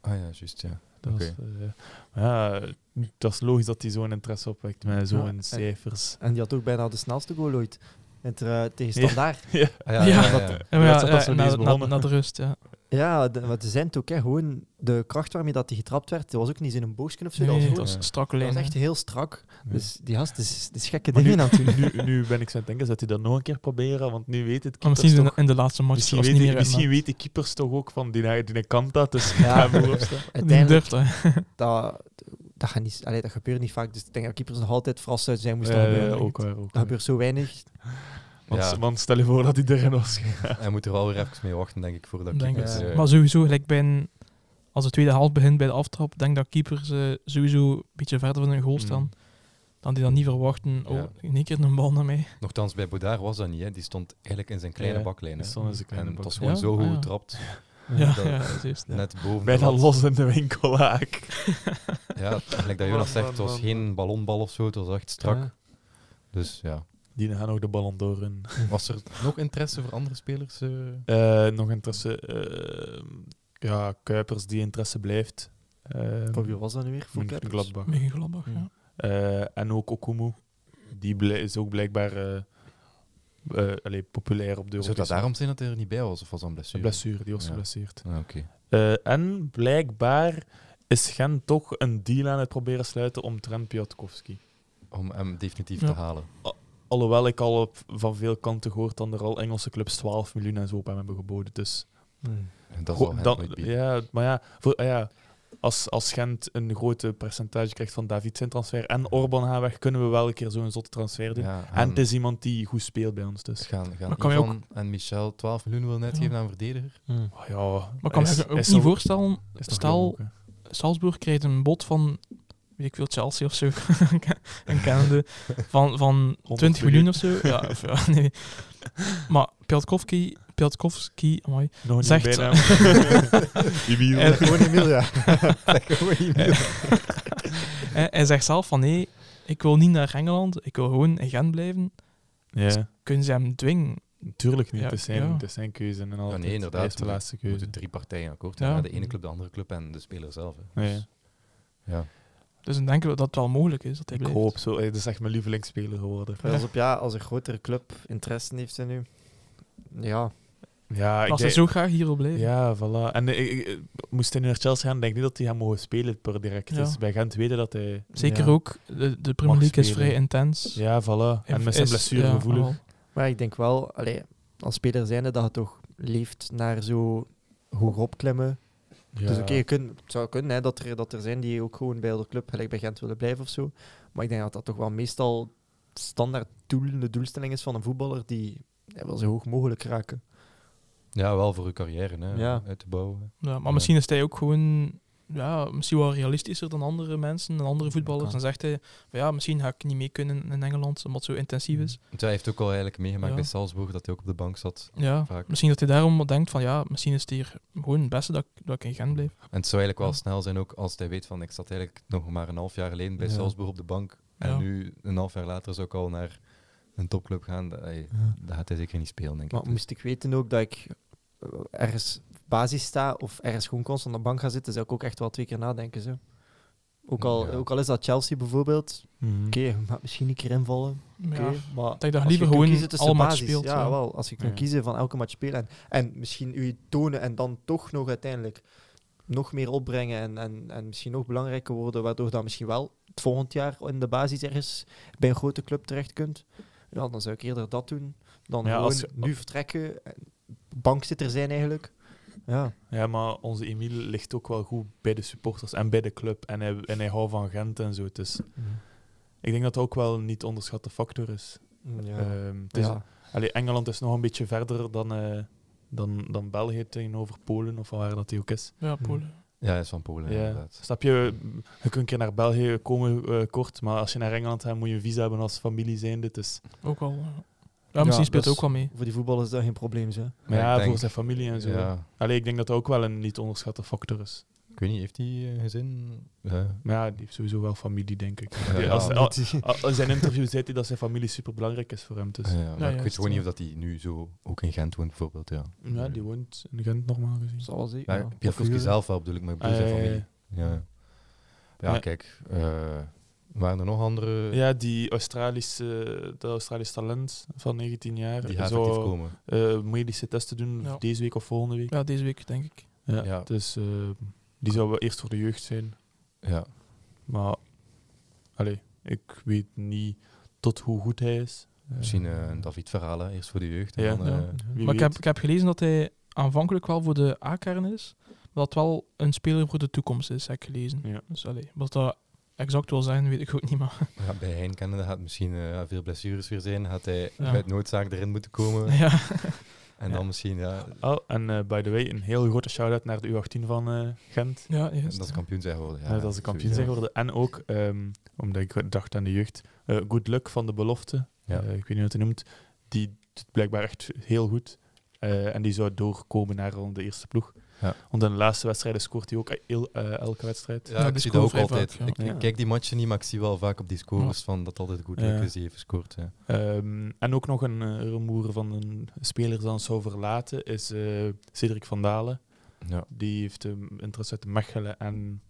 Speaker 2: Ah ja, juist, ja.
Speaker 3: Dat
Speaker 2: Oké.
Speaker 3: is, eh, maar ja, dat is logisch dat hij zo'n interesse opwekt met zo'n cijfers.
Speaker 4: En die had ook bijna de snelste goal ooit. Inter, eh, tegen Standaard.
Speaker 3: Ja.
Speaker 2: Ah, ja,
Speaker 1: <laughs> Ja.
Speaker 2: ja, ja, ja.
Speaker 1: Ja, maar
Speaker 3: Ja,
Speaker 1: ja,
Speaker 3: dat is
Speaker 1: ja,
Speaker 3: pas zo
Speaker 1: na,
Speaker 3: deze
Speaker 1: na,
Speaker 3: begonnen.
Speaker 1: na de rust, ja.
Speaker 4: Ja, de, maar de zijn ook, hè, gewoon de kracht waarmee dat die getrapt werd, dat was ook niet in een boosje of zo.
Speaker 1: Nee,
Speaker 4: dat was,
Speaker 1: dat
Speaker 4: gewoon-
Speaker 1: was
Speaker 2: Ja.
Speaker 1: een strakke
Speaker 4: dat
Speaker 1: lijn.
Speaker 4: was echt
Speaker 1: hè.
Speaker 4: heel strak.
Speaker 3: Ja.
Speaker 4: Dus die gast is, is gekke
Speaker 3: Maar
Speaker 4: dingen aan het
Speaker 3: <laughs>
Speaker 4: doen.
Speaker 3: Nu, nu ben ik zo aan het denken, zou hij dat nog een keer proberen? Want nu weet het
Speaker 1: Maar
Speaker 3: keepers
Speaker 1: misschien in de,
Speaker 3: toch...
Speaker 1: in de laatste match.
Speaker 3: Misschien,
Speaker 1: was
Speaker 3: weet,
Speaker 1: het
Speaker 3: die-
Speaker 1: niet meer
Speaker 3: misschien weten keepers toch ook van die, die kant dat, dus <laughs>
Speaker 4: Ja.
Speaker 3: ja. hem
Speaker 1: <laughs>
Speaker 3: opstaan.
Speaker 1: Die
Speaker 4: Uiteindelijk,
Speaker 1: durft, hè.
Speaker 4: dat, dat, gaat niet, allee, dat gebeurt niet vaak. Dus ik denk dat keepers nog altijd verrast uit zijn moesten
Speaker 3: Eh,
Speaker 4: gebeuren.
Speaker 3: ook waar, ook
Speaker 4: Dat
Speaker 3: waar.
Speaker 4: gebeurt zo weinig.
Speaker 3: Want,
Speaker 2: Ja.
Speaker 3: want stel je voor dat hij erin was. <laughs>
Speaker 2: Hij moet er wel weer even mee wachten, denk ik, voordat
Speaker 1: Denk
Speaker 2: keepers...
Speaker 4: het.
Speaker 2: eh,
Speaker 1: Maar sowieso, gelijk bij een, als de tweede helft begint bij de aftrap, denk dat keepers eh, sowieso een beetje verder van hun goal staan. Dan die dan niet verwachten, oh,
Speaker 2: Ja.
Speaker 1: in één keer een bal naar mij.
Speaker 2: Nochtans, bij Boudard was dat niet, hè. Die stond eigenlijk in zijn kleine
Speaker 3: Ja,
Speaker 2: baklijn, hè.
Speaker 3: die stond in zijn kleine
Speaker 2: en het was gewoon
Speaker 1: baklijn.
Speaker 2: zo
Speaker 1: Ja,
Speaker 2: goed
Speaker 1: ah, ja.
Speaker 2: getrapt,
Speaker 1: <laughs> Ja,
Speaker 2: dat-
Speaker 1: ja, dat is het.
Speaker 2: net boven de
Speaker 3: Bijna
Speaker 2: lat.
Speaker 3: los in de winkelhaak.
Speaker 2: Ja, eigenlijk dat Jonas zegt, het was geen ballonbal of zo. Het was echt strak.
Speaker 4: Ja.
Speaker 2: Dus ja.
Speaker 3: Die gaan ook de ballon door in.
Speaker 2: Was er nog interesse voor andere spelers? eh?
Speaker 3: Eh, nog interesse. eh, ja, Kuipers die interesse blijft. Eh,
Speaker 4: Voor wie was dat nu weer? Voor
Speaker 3: München-
Speaker 4: Kuipers?
Speaker 3: Gladbach.
Speaker 1: Mega glabbig, ja.
Speaker 3: Eh, en ook Okumu. Die bl- is ook blijkbaar eh, eh, allee, populair op de
Speaker 2: Zou dat
Speaker 3: Europese-
Speaker 2: daarom zijn dat hij er niet bij was? Of was dat een blessure?
Speaker 3: Blessure, die was
Speaker 2: Ja.
Speaker 3: geblesseerd.
Speaker 2: Ah, oké.
Speaker 3: Eh, en blijkbaar is Gent toch een deal aan het proberen sluiten omtrent Piotkowski.
Speaker 2: Om hem definitief
Speaker 1: Ja.
Speaker 2: te halen.
Speaker 3: Alhoewel ik al op, van veel kanten gehoord dat er al Engelse clubs 12 miljoen en zo op hem hebben geboden. Dus
Speaker 4: Hmm.
Speaker 2: En dat
Speaker 3: Go-
Speaker 2: zal hem
Speaker 3: dan-
Speaker 2: nooit bieden.
Speaker 3: ja, maar ja, voor, ah ja als, als Gent een grote percentage krijgt van David zijn transfer en Orban gaan weg, kunnen we wel een keer zo'n zotte transfer doen.
Speaker 2: Ja,
Speaker 3: en het is iemand die goed speelt bij ons, dus.
Speaker 2: Gaan, gaan
Speaker 1: Maar kan je ook-
Speaker 2: Ivan en Michel 12 miljoen wil net
Speaker 1: Ja.
Speaker 2: geven aan een verdediger?
Speaker 3: Oh ja,
Speaker 1: Hmm. Maar ik kan
Speaker 3: hij is-
Speaker 1: me ook
Speaker 3: hij is
Speaker 1: niet
Speaker 3: nog-
Speaker 1: voorstellen,
Speaker 3: hij is nog
Speaker 1: stel-
Speaker 3: jong ook, hè.
Speaker 1: Salzburg kreeg een bod van, weet ik veel, Chelsea of zo, <laughs> een kennende, van, van 20 miljoen of zo. Ja,
Speaker 3: <laughs>
Speaker 1: of, ja, nee. Maar Piotkowski, Piotkowski, amai,
Speaker 3: Nog niet
Speaker 1: Zegt- <laughs>
Speaker 3: bijna.
Speaker 1: En-
Speaker 4: Gewoon Emilia.
Speaker 1: Hij, hij zegt zelf van nee, Ik wil niet naar Engeland. Ik wil gewoon in Gent blijven.
Speaker 3: Ja,
Speaker 1: Kunnen ze hem dwingen?
Speaker 3: natuurlijk niet.
Speaker 1: Ja,
Speaker 3: Het is zijn,
Speaker 1: ja.
Speaker 3: het is zijn keuze en al.
Speaker 2: Ja, nee, inderdaad,
Speaker 3: Hij heeft de
Speaker 2: maar-
Speaker 3: laatste
Speaker 2: Er
Speaker 3: keuze.
Speaker 2: moeten drie partijen akkoord
Speaker 1: Ja.
Speaker 2: gaan. De ene club, de andere club en de speler zelf. Hè.
Speaker 3: Ja.
Speaker 2: Dus, ja.
Speaker 1: Dus dan denken we dat het wel mogelijk is dat hij
Speaker 3: Ik
Speaker 1: blijft.
Speaker 3: hoop zo. Het is echt mijn lievelingsspeler geworden.
Speaker 4: Pas op, ja, als een grotere club interesse heeft in u. Ja,
Speaker 3: Ja, ik
Speaker 1: Als
Speaker 3: denk,
Speaker 1: hij zo graag hier wil blijven.
Speaker 3: ja voilà. En eh, ik- ik- moest hij nu naar Chelsea gaan, denk ik niet dat hij gaat mogen spelen per direct.
Speaker 1: Ja.
Speaker 3: Dus bij Gent weten dat hij...
Speaker 1: Zeker
Speaker 4: Ja.
Speaker 1: ook, de, de Premier League is
Speaker 3: spelen.
Speaker 1: vrij intens.
Speaker 3: Ja, voilà. En met zijn
Speaker 1: Is-
Speaker 3: blessure
Speaker 1: ja,
Speaker 3: gevoelig.
Speaker 1: wel.
Speaker 4: maar ik denk wel, allee, als speler zijnde, dat je toch leeft naar zo hoog opklimmen.
Speaker 3: Ja.
Speaker 4: Dus oké, je kunt- het zou kunnen hè, dat, er, dat er zijn die ook gewoon bij de club gelijk bij Gent willen blijven of zo. Maar ik denk dat dat toch wel meestal standaard doel, de doelstelling is van een voetballer die hij wil zo hoog mogelijk raken.
Speaker 2: ja, wel voor uw carrière hè,
Speaker 4: Ja.
Speaker 2: uit te bouwen.
Speaker 1: Ja, maar
Speaker 2: Ja.
Speaker 1: misschien is hij ook gewoon ja, misschien wel realistischer dan andere mensen en andere voetballers.
Speaker 2: Kan.
Speaker 1: Dan zegt hij, van ja, misschien ga ik niet mee kunnen in Engeland, omdat het zo intensief is.
Speaker 2: Want hij heeft ook al eigenlijk meegemaakt
Speaker 1: Ja.
Speaker 2: bij Salzburg dat hij ook op de bank zat.
Speaker 1: Ja,
Speaker 2: Vaak.
Speaker 1: misschien dat hij daarom wat denkt van ja, misschien is het hier gewoon het beste dat, ik- dat ik in Gent blijf.
Speaker 2: En het zou eigenlijk wel
Speaker 1: Ja.
Speaker 2: snel zijn ook als hij weet van ik zat eigenlijk nog maar een half jaar geleden bij
Speaker 3: Ja.
Speaker 2: Salzburg op de bank. En
Speaker 1: Ja.
Speaker 2: nu, een half jaar later, zou ik al naar een topclub gaan. Dat, hij-
Speaker 4: Ja.
Speaker 2: dat gaat hij zeker niet spelen, denk ik.
Speaker 4: Maar moest ik weten ook dat ik eh, ergens basis sta of ergens gewoon constant aan de bank ga zitten, zou ik ook echt wel twee keer nadenken. Zo. Ook, al,
Speaker 2: Ja.
Speaker 4: ook al is dat Chelsea bijvoorbeeld,
Speaker 3: Mhm.
Speaker 4: oké, je mag misschien een keer invallen.
Speaker 1: Ja.
Speaker 4: Oké, maar
Speaker 1: Dat
Speaker 4: als je
Speaker 1: ik dan liever
Speaker 4: kunt
Speaker 1: gewoon
Speaker 4: kiezen tussen
Speaker 1: alle
Speaker 4: de
Speaker 1: match
Speaker 4: basis,
Speaker 1: speelt.
Speaker 4: Ja,
Speaker 1: ja.
Speaker 4: wel. Als je kunt
Speaker 3: Ja.
Speaker 4: kiezen van elke match spelen. En, en misschien u tonen en dan toch nog uiteindelijk nog meer opbrengen. En, en, en misschien nog belangrijker worden. Waardoor dan misschien wel het volgend jaar in de basis ergens bij een grote club terecht kunt. Ja, dan zou ik eerder dat doen. Dan
Speaker 3: Ja,
Speaker 4: gewoon
Speaker 3: als je-
Speaker 4: nu vertrekken. en Bankzitter zijn eigenlijk. Ja,
Speaker 3: Ja, maar onze Emile ligt ook wel goed bij de supporters en bij de club. En hij, en hij houdt van Gent en zo. Dus ik denk dat dat ook wel een niet onderschatte factor is.
Speaker 4: Mm, ja.
Speaker 3: Ehm, het is
Speaker 4: Ja.
Speaker 3: allee, Engeland is nog een beetje verder dan, eh, dan, dan België tegenover Polen of waar dat die ook is.
Speaker 1: Ja, Polen.
Speaker 2: Ja, hij is van Polen,
Speaker 3: Ja.
Speaker 2: inderdaad.
Speaker 3: Snap je, je kunt een keer naar België komen eh, kort, maar als je naar Engeland gaat, moet je een visa hebben als familie zijnde. Dus,
Speaker 1: Ook wel. Ja,
Speaker 4: Ja,
Speaker 1: misschien speelt
Speaker 4: dus-
Speaker 1: hij ook wel mee.
Speaker 4: Voor die voetballers is dat geen probleem. Zo.
Speaker 3: maar
Speaker 2: ik
Speaker 3: ja,
Speaker 2: denk-
Speaker 3: voor zijn familie en zo.
Speaker 2: Ja.
Speaker 3: Allee, ik denk dat dat ook wel een niet onderschatte factor is.
Speaker 2: Ik weet niet, heeft hij eh, gezin? Ja.
Speaker 3: Maar ja, die heeft sowieso wel familie, denk ik.
Speaker 2: Ja,
Speaker 3: Die-
Speaker 2: ja.
Speaker 3: als,
Speaker 2: Ja,
Speaker 3: al- al- in zijn interview zei hij dat zijn familie super belangrijk is voor hem. Dus.
Speaker 2: Ah, Ja, maar ik
Speaker 1: juist,
Speaker 2: weet gewoon
Speaker 1: ja.
Speaker 2: niet of dat hij nu zo ook in Gent woont, bijvoorbeeld. Ja.
Speaker 3: Ja, die woont in Gent normaal gezien.
Speaker 4: Zal wel zien.
Speaker 2: Ja,
Speaker 4: Ja.
Speaker 2: Piatkowski zelf wel, bedoel ik, maar ik bedoel
Speaker 3: Ah, ja,
Speaker 2: zijn
Speaker 3: ja,
Speaker 2: familie. Ja, ja.
Speaker 3: Ja.
Speaker 2: kijk. eh, waren er nog andere
Speaker 3: Ja, die Australische, dat Australisch talent van 19 jaar.
Speaker 2: die gaat
Speaker 3: zou,
Speaker 2: actief komen?
Speaker 3: eh, medische testen doen
Speaker 1: Ja.
Speaker 3: deze week of volgende week.
Speaker 1: Ja, deze week denk ik.
Speaker 3: Ja.
Speaker 2: Ja.
Speaker 3: Dus eh, die zou wel eerst voor de jeugd zijn.
Speaker 2: Ja.
Speaker 3: Maar allee, ik weet niet tot hoe goed hij is. Eh,
Speaker 2: Misschien eh, een David-verhaal eerst voor de jeugd. en
Speaker 3: Ja.
Speaker 2: dan,
Speaker 1: Ja.
Speaker 2: eh,
Speaker 3: wie
Speaker 1: maar
Speaker 3: weet.
Speaker 1: ik heb, ik heb gelezen dat hij aanvankelijk wel voor de A-kern is, maar dat het wel een speler voor de toekomst is, heb ik gelezen.
Speaker 3: Ja.
Speaker 1: Dus allee, wat dat exact wil zijn, weet ik ook niet, maar...
Speaker 2: ja, bij Hein kennende gaat misschien eh, ja, veel blessures weer zijn. Gaat hij
Speaker 1: Ja.
Speaker 2: uit noodzaak erin moeten komen.
Speaker 1: <laughs> Ja.
Speaker 2: En
Speaker 3: Ja.
Speaker 2: dan misschien, ja,
Speaker 3: Oh, en eh, by the way, een heel grote shout-out naar de U18 van eh, Gent.
Speaker 1: Ja, juist.
Speaker 2: dat is kampioen zijn geworden. Ja,
Speaker 3: Eh, dat ze kampioen
Speaker 2: sowieso.
Speaker 3: zijn geworden. En ook, ehm, omdat ik dacht aan de jeugd, eh Good Luck van de belofte.
Speaker 2: Ja.
Speaker 3: Eh, ik weet niet hoe het noemt. Die doet het blijkbaar echt heel goed. Eh, en die zou doorkomen naar de eerste ploeg.
Speaker 2: Ja.
Speaker 3: Want in de laatste wedstrijden scoort hij ook heel, eh, elke wedstrijd.
Speaker 2: Ja,
Speaker 1: Ja,
Speaker 2: ik
Speaker 1: die
Speaker 2: zie dat ook
Speaker 1: scoren vrij
Speaker 2: altijd.
Speaker 1: vaak, ja.
Speaker 2: Ik, ik
Speaker 3: Ja.
Speaker 2: kijk die matchen niet, maar ik zie wel vaak op die scores van dat altijd goed
Speaker 3: Ja.
Speaker 2: lukt is die heeft gescoord. Ja.
Speaker 3: Ehm, en ook nog een eh, rumoer van een speler die ons zou verlaten is eh, Cedric van Dalen.
Speaker 2: Ja.
Speaker 3: Die heeft eh, interesse uit Mechelen en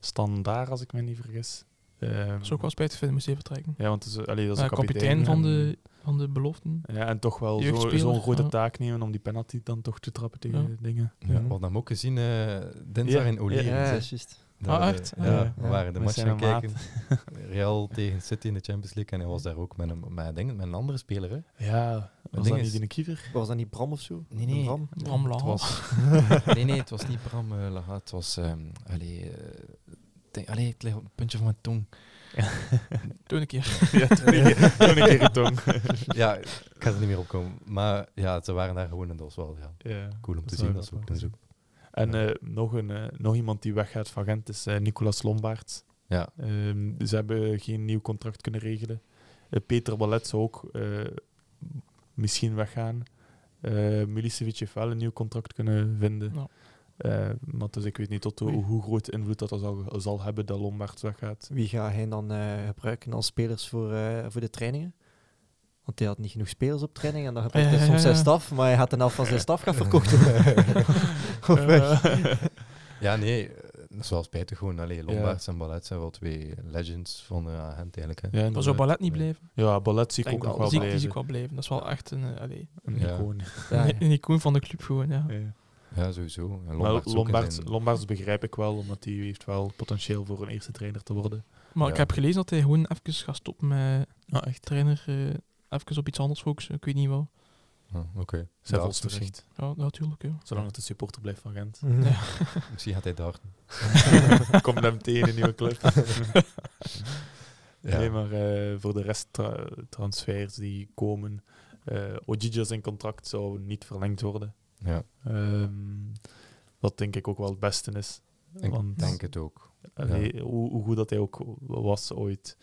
Speaker 3: Standaar, als ik me niet vergis. Ehm,
Speaker 1: Dat is ook wel spijtig vinden, moest hij vertrekken.
Speaker 3: Ja, want het is, allee, dat is
Speaker 1: Ja,
Speaker 3: een kapitein.
Speaker 1: Eh, kapitein van
Speaker 3: en- eh,
Speaker 1: de, van de beloften.
Speaker 3: Ja, en toch wel zo- zo'n
Speaker 1: Jeugdspeler,
Speaker 3: grote
Speaker 1: ja.
Speaker 3: taak nemen om die penalty dan toch te trappen tegen
Speaker 1: Ja.
Speaker 3: de dingen.
Speaker 2: Ja, we
Speaker 4: Mhm.
Speaker 2: hadden hem ook gezien eh dinsdag
Speaker 3: Ja,
Speaker 2: in Oliven.
Speaker 4: Ja,
Speaker 2: hè.
Speaker 4: dat is juist.
Speaker 2: Dat
Speaker 1: Ah,
Speaker 2: we-
Speaker 1: echt?
Speaker 2: Ja,
Speaker 1: Ah,
Speaker 3: ja.
Speaker 2: we waren de
Speaker 3: Met
Speaker 2: match
Speaker 3: zijn
Speaker 2: gaan
Speaker 3: maat.
Speaker 2: kijken. Real tegen City in de Champions League. En hij was daar ook met een, met, ik denk, met een andere speler. Hè?
Speaker 3: Ja, was
Speaker 2: ding
Speaker 3: dat niet
Speaker 2: is-
Speaker 3: in de
Speaker 2: <laughs>
Speaker 3: kiever?
Speaker 4: Was dat niet Bram of zo?
Speaker 2: Nee, nee.
Speaker 4: Bram?
Speaker 1: Bram Laal.
Speaker 3: Het was,
Speaker 2: <laughs> nee, nee, het was niet Bram eh Lahat. Het was... ehm allee, eh, denk- allee, het ligt op het puntje van mijn tong.
Speaker 1: Toen een keer.
Speaker 3: ja, toen ik, <laughs> toen ik in tong.
Speaker 2: <laughs> ja, ik ga er niet meer op komen. Maar ja, ze waren daar gewoon en dat was wel ja,
Speaker 3: Ja.
Speaker 2: cool om
Speaker 3: Dat
Speaker 2: te
Speaker 3: is
Speaker 2: zien.
Speaker 3: wel
Speaker 2: Dat ze ook doen
Speaker 3: grappig.
Speaker 2: zo.
Speaker 3: En eh, nog, een, eh, nog iemand die weggaat van Gent is eh, Nicolas Lombaert.
Speaker 2: Ja.
Speaker 3: Ehm, ze hebben geen nieuw contract kunnen regelen. Eh, Peter Ballet zou ook eh, misschien weggaan. Eh Milicevic heeft wel een nieuw contract kunnen vinden.
Speaker 1: Ja.
Speaker 3: Eh, maar dus ik weet niet tot hoe,
Speaker 4: Oei.
Speaker 3: hoe groot invloed dat, dat zal, zal hebben dat Lombard weggaat.
Speaker 4: Wie gaat hij dan eh, gebruiken als spelers voor, eh, voor de trainingen? Want hij had niet genoeg spelers op training en dan gebruikte hij
Speaker 3: Ja, ja,
Speaker 4: soms
Speaker 3: ja,
Speaker 4: zijn
Speaker 3: ja.
Speaker 4: staf, maar hij had een helft van zijn staf gaan verkochten. of weg.
Speaker 2: Ja, nee, eh, dat is wel spijtig gewoon. Allee, Lombaerts en Ballet zijn wel twee legends van de agent eigenlijk. Hè.
Speaker 3: ja,
Speaker 1: Maar zou
Speaker 3: inderdaad.
Speaker 1: ballet niet
Speaker 2: Nee.
Speaker 1: blijven?
Speaker 3: ja, ballet zie
Speaker 4: Ik
Speaker 3: ik ook
Speaker 4: denk
Speaker 3: nog
Speaker 4: wel. Zie
Speaker 3: wel blijven.
Speaker 1: Die die zie ik wel blijven. Dat is wel echt een, eh, allee,
Speaker 3: Een
Speaker 2: Ja.
Speaker 3: icoon.
Speaker 4: <laughs> Ja, ja.
Speaker 1: een icoon van de club gewoon. Ja.
Speaker 3: Ja.
Speaker 2: Ja, sowieso. En
Speaker 3: Maar
Speaker 2: Lombaerts ook in
Speaker 3: Lombaerts,
Speaker 2: zijn-
Speaker 3: Lombaerts begrijp ik wel, omdat die heeft wel potentieel voor een eerste trainer te worden.
Speaker 1: Maar ik
Speaker 2: Ja.
Speaker 1: heb gelezen dat hij gewoon even gaat stoppen met
Speaker 3: Ah, echt?
Speaker 1: trainer. eh, even op iets anders focussen. Ik weet niet wel.
Speaker 2: Ja, Ah, Oké.
Speaker 3: Zij
Speaker 2: Daar
Speaker 3: volgens
Speaker 2: misschien.
Speaker 3: terecht.
Speaker 1: Ja, natuurlijk. Ja.
Speaker 3: Zolang het een supporter blijft van Gent.
Speaker 4: Ja.
Speaker 2: Misschien gaat hij daar.
Speaker 3: <laughs> Komt hem tegen een nieuwe club.
Speaker 2: Ja.
Speaker 3: Nee, maar eh, voor de rest tra- transfers die komen. eh Ojija zijn contract zou niet verlengd worden.
Speaker 2: Ja,
Speaker 3: Ehm, wat denk ik ook wel het beste is.
Speaker 2: ik
Speaker 3: Want-
Speaker 2: denk het ook.
Speaker 3: Allee, hoe, hoe goed dat hij ook was ooit.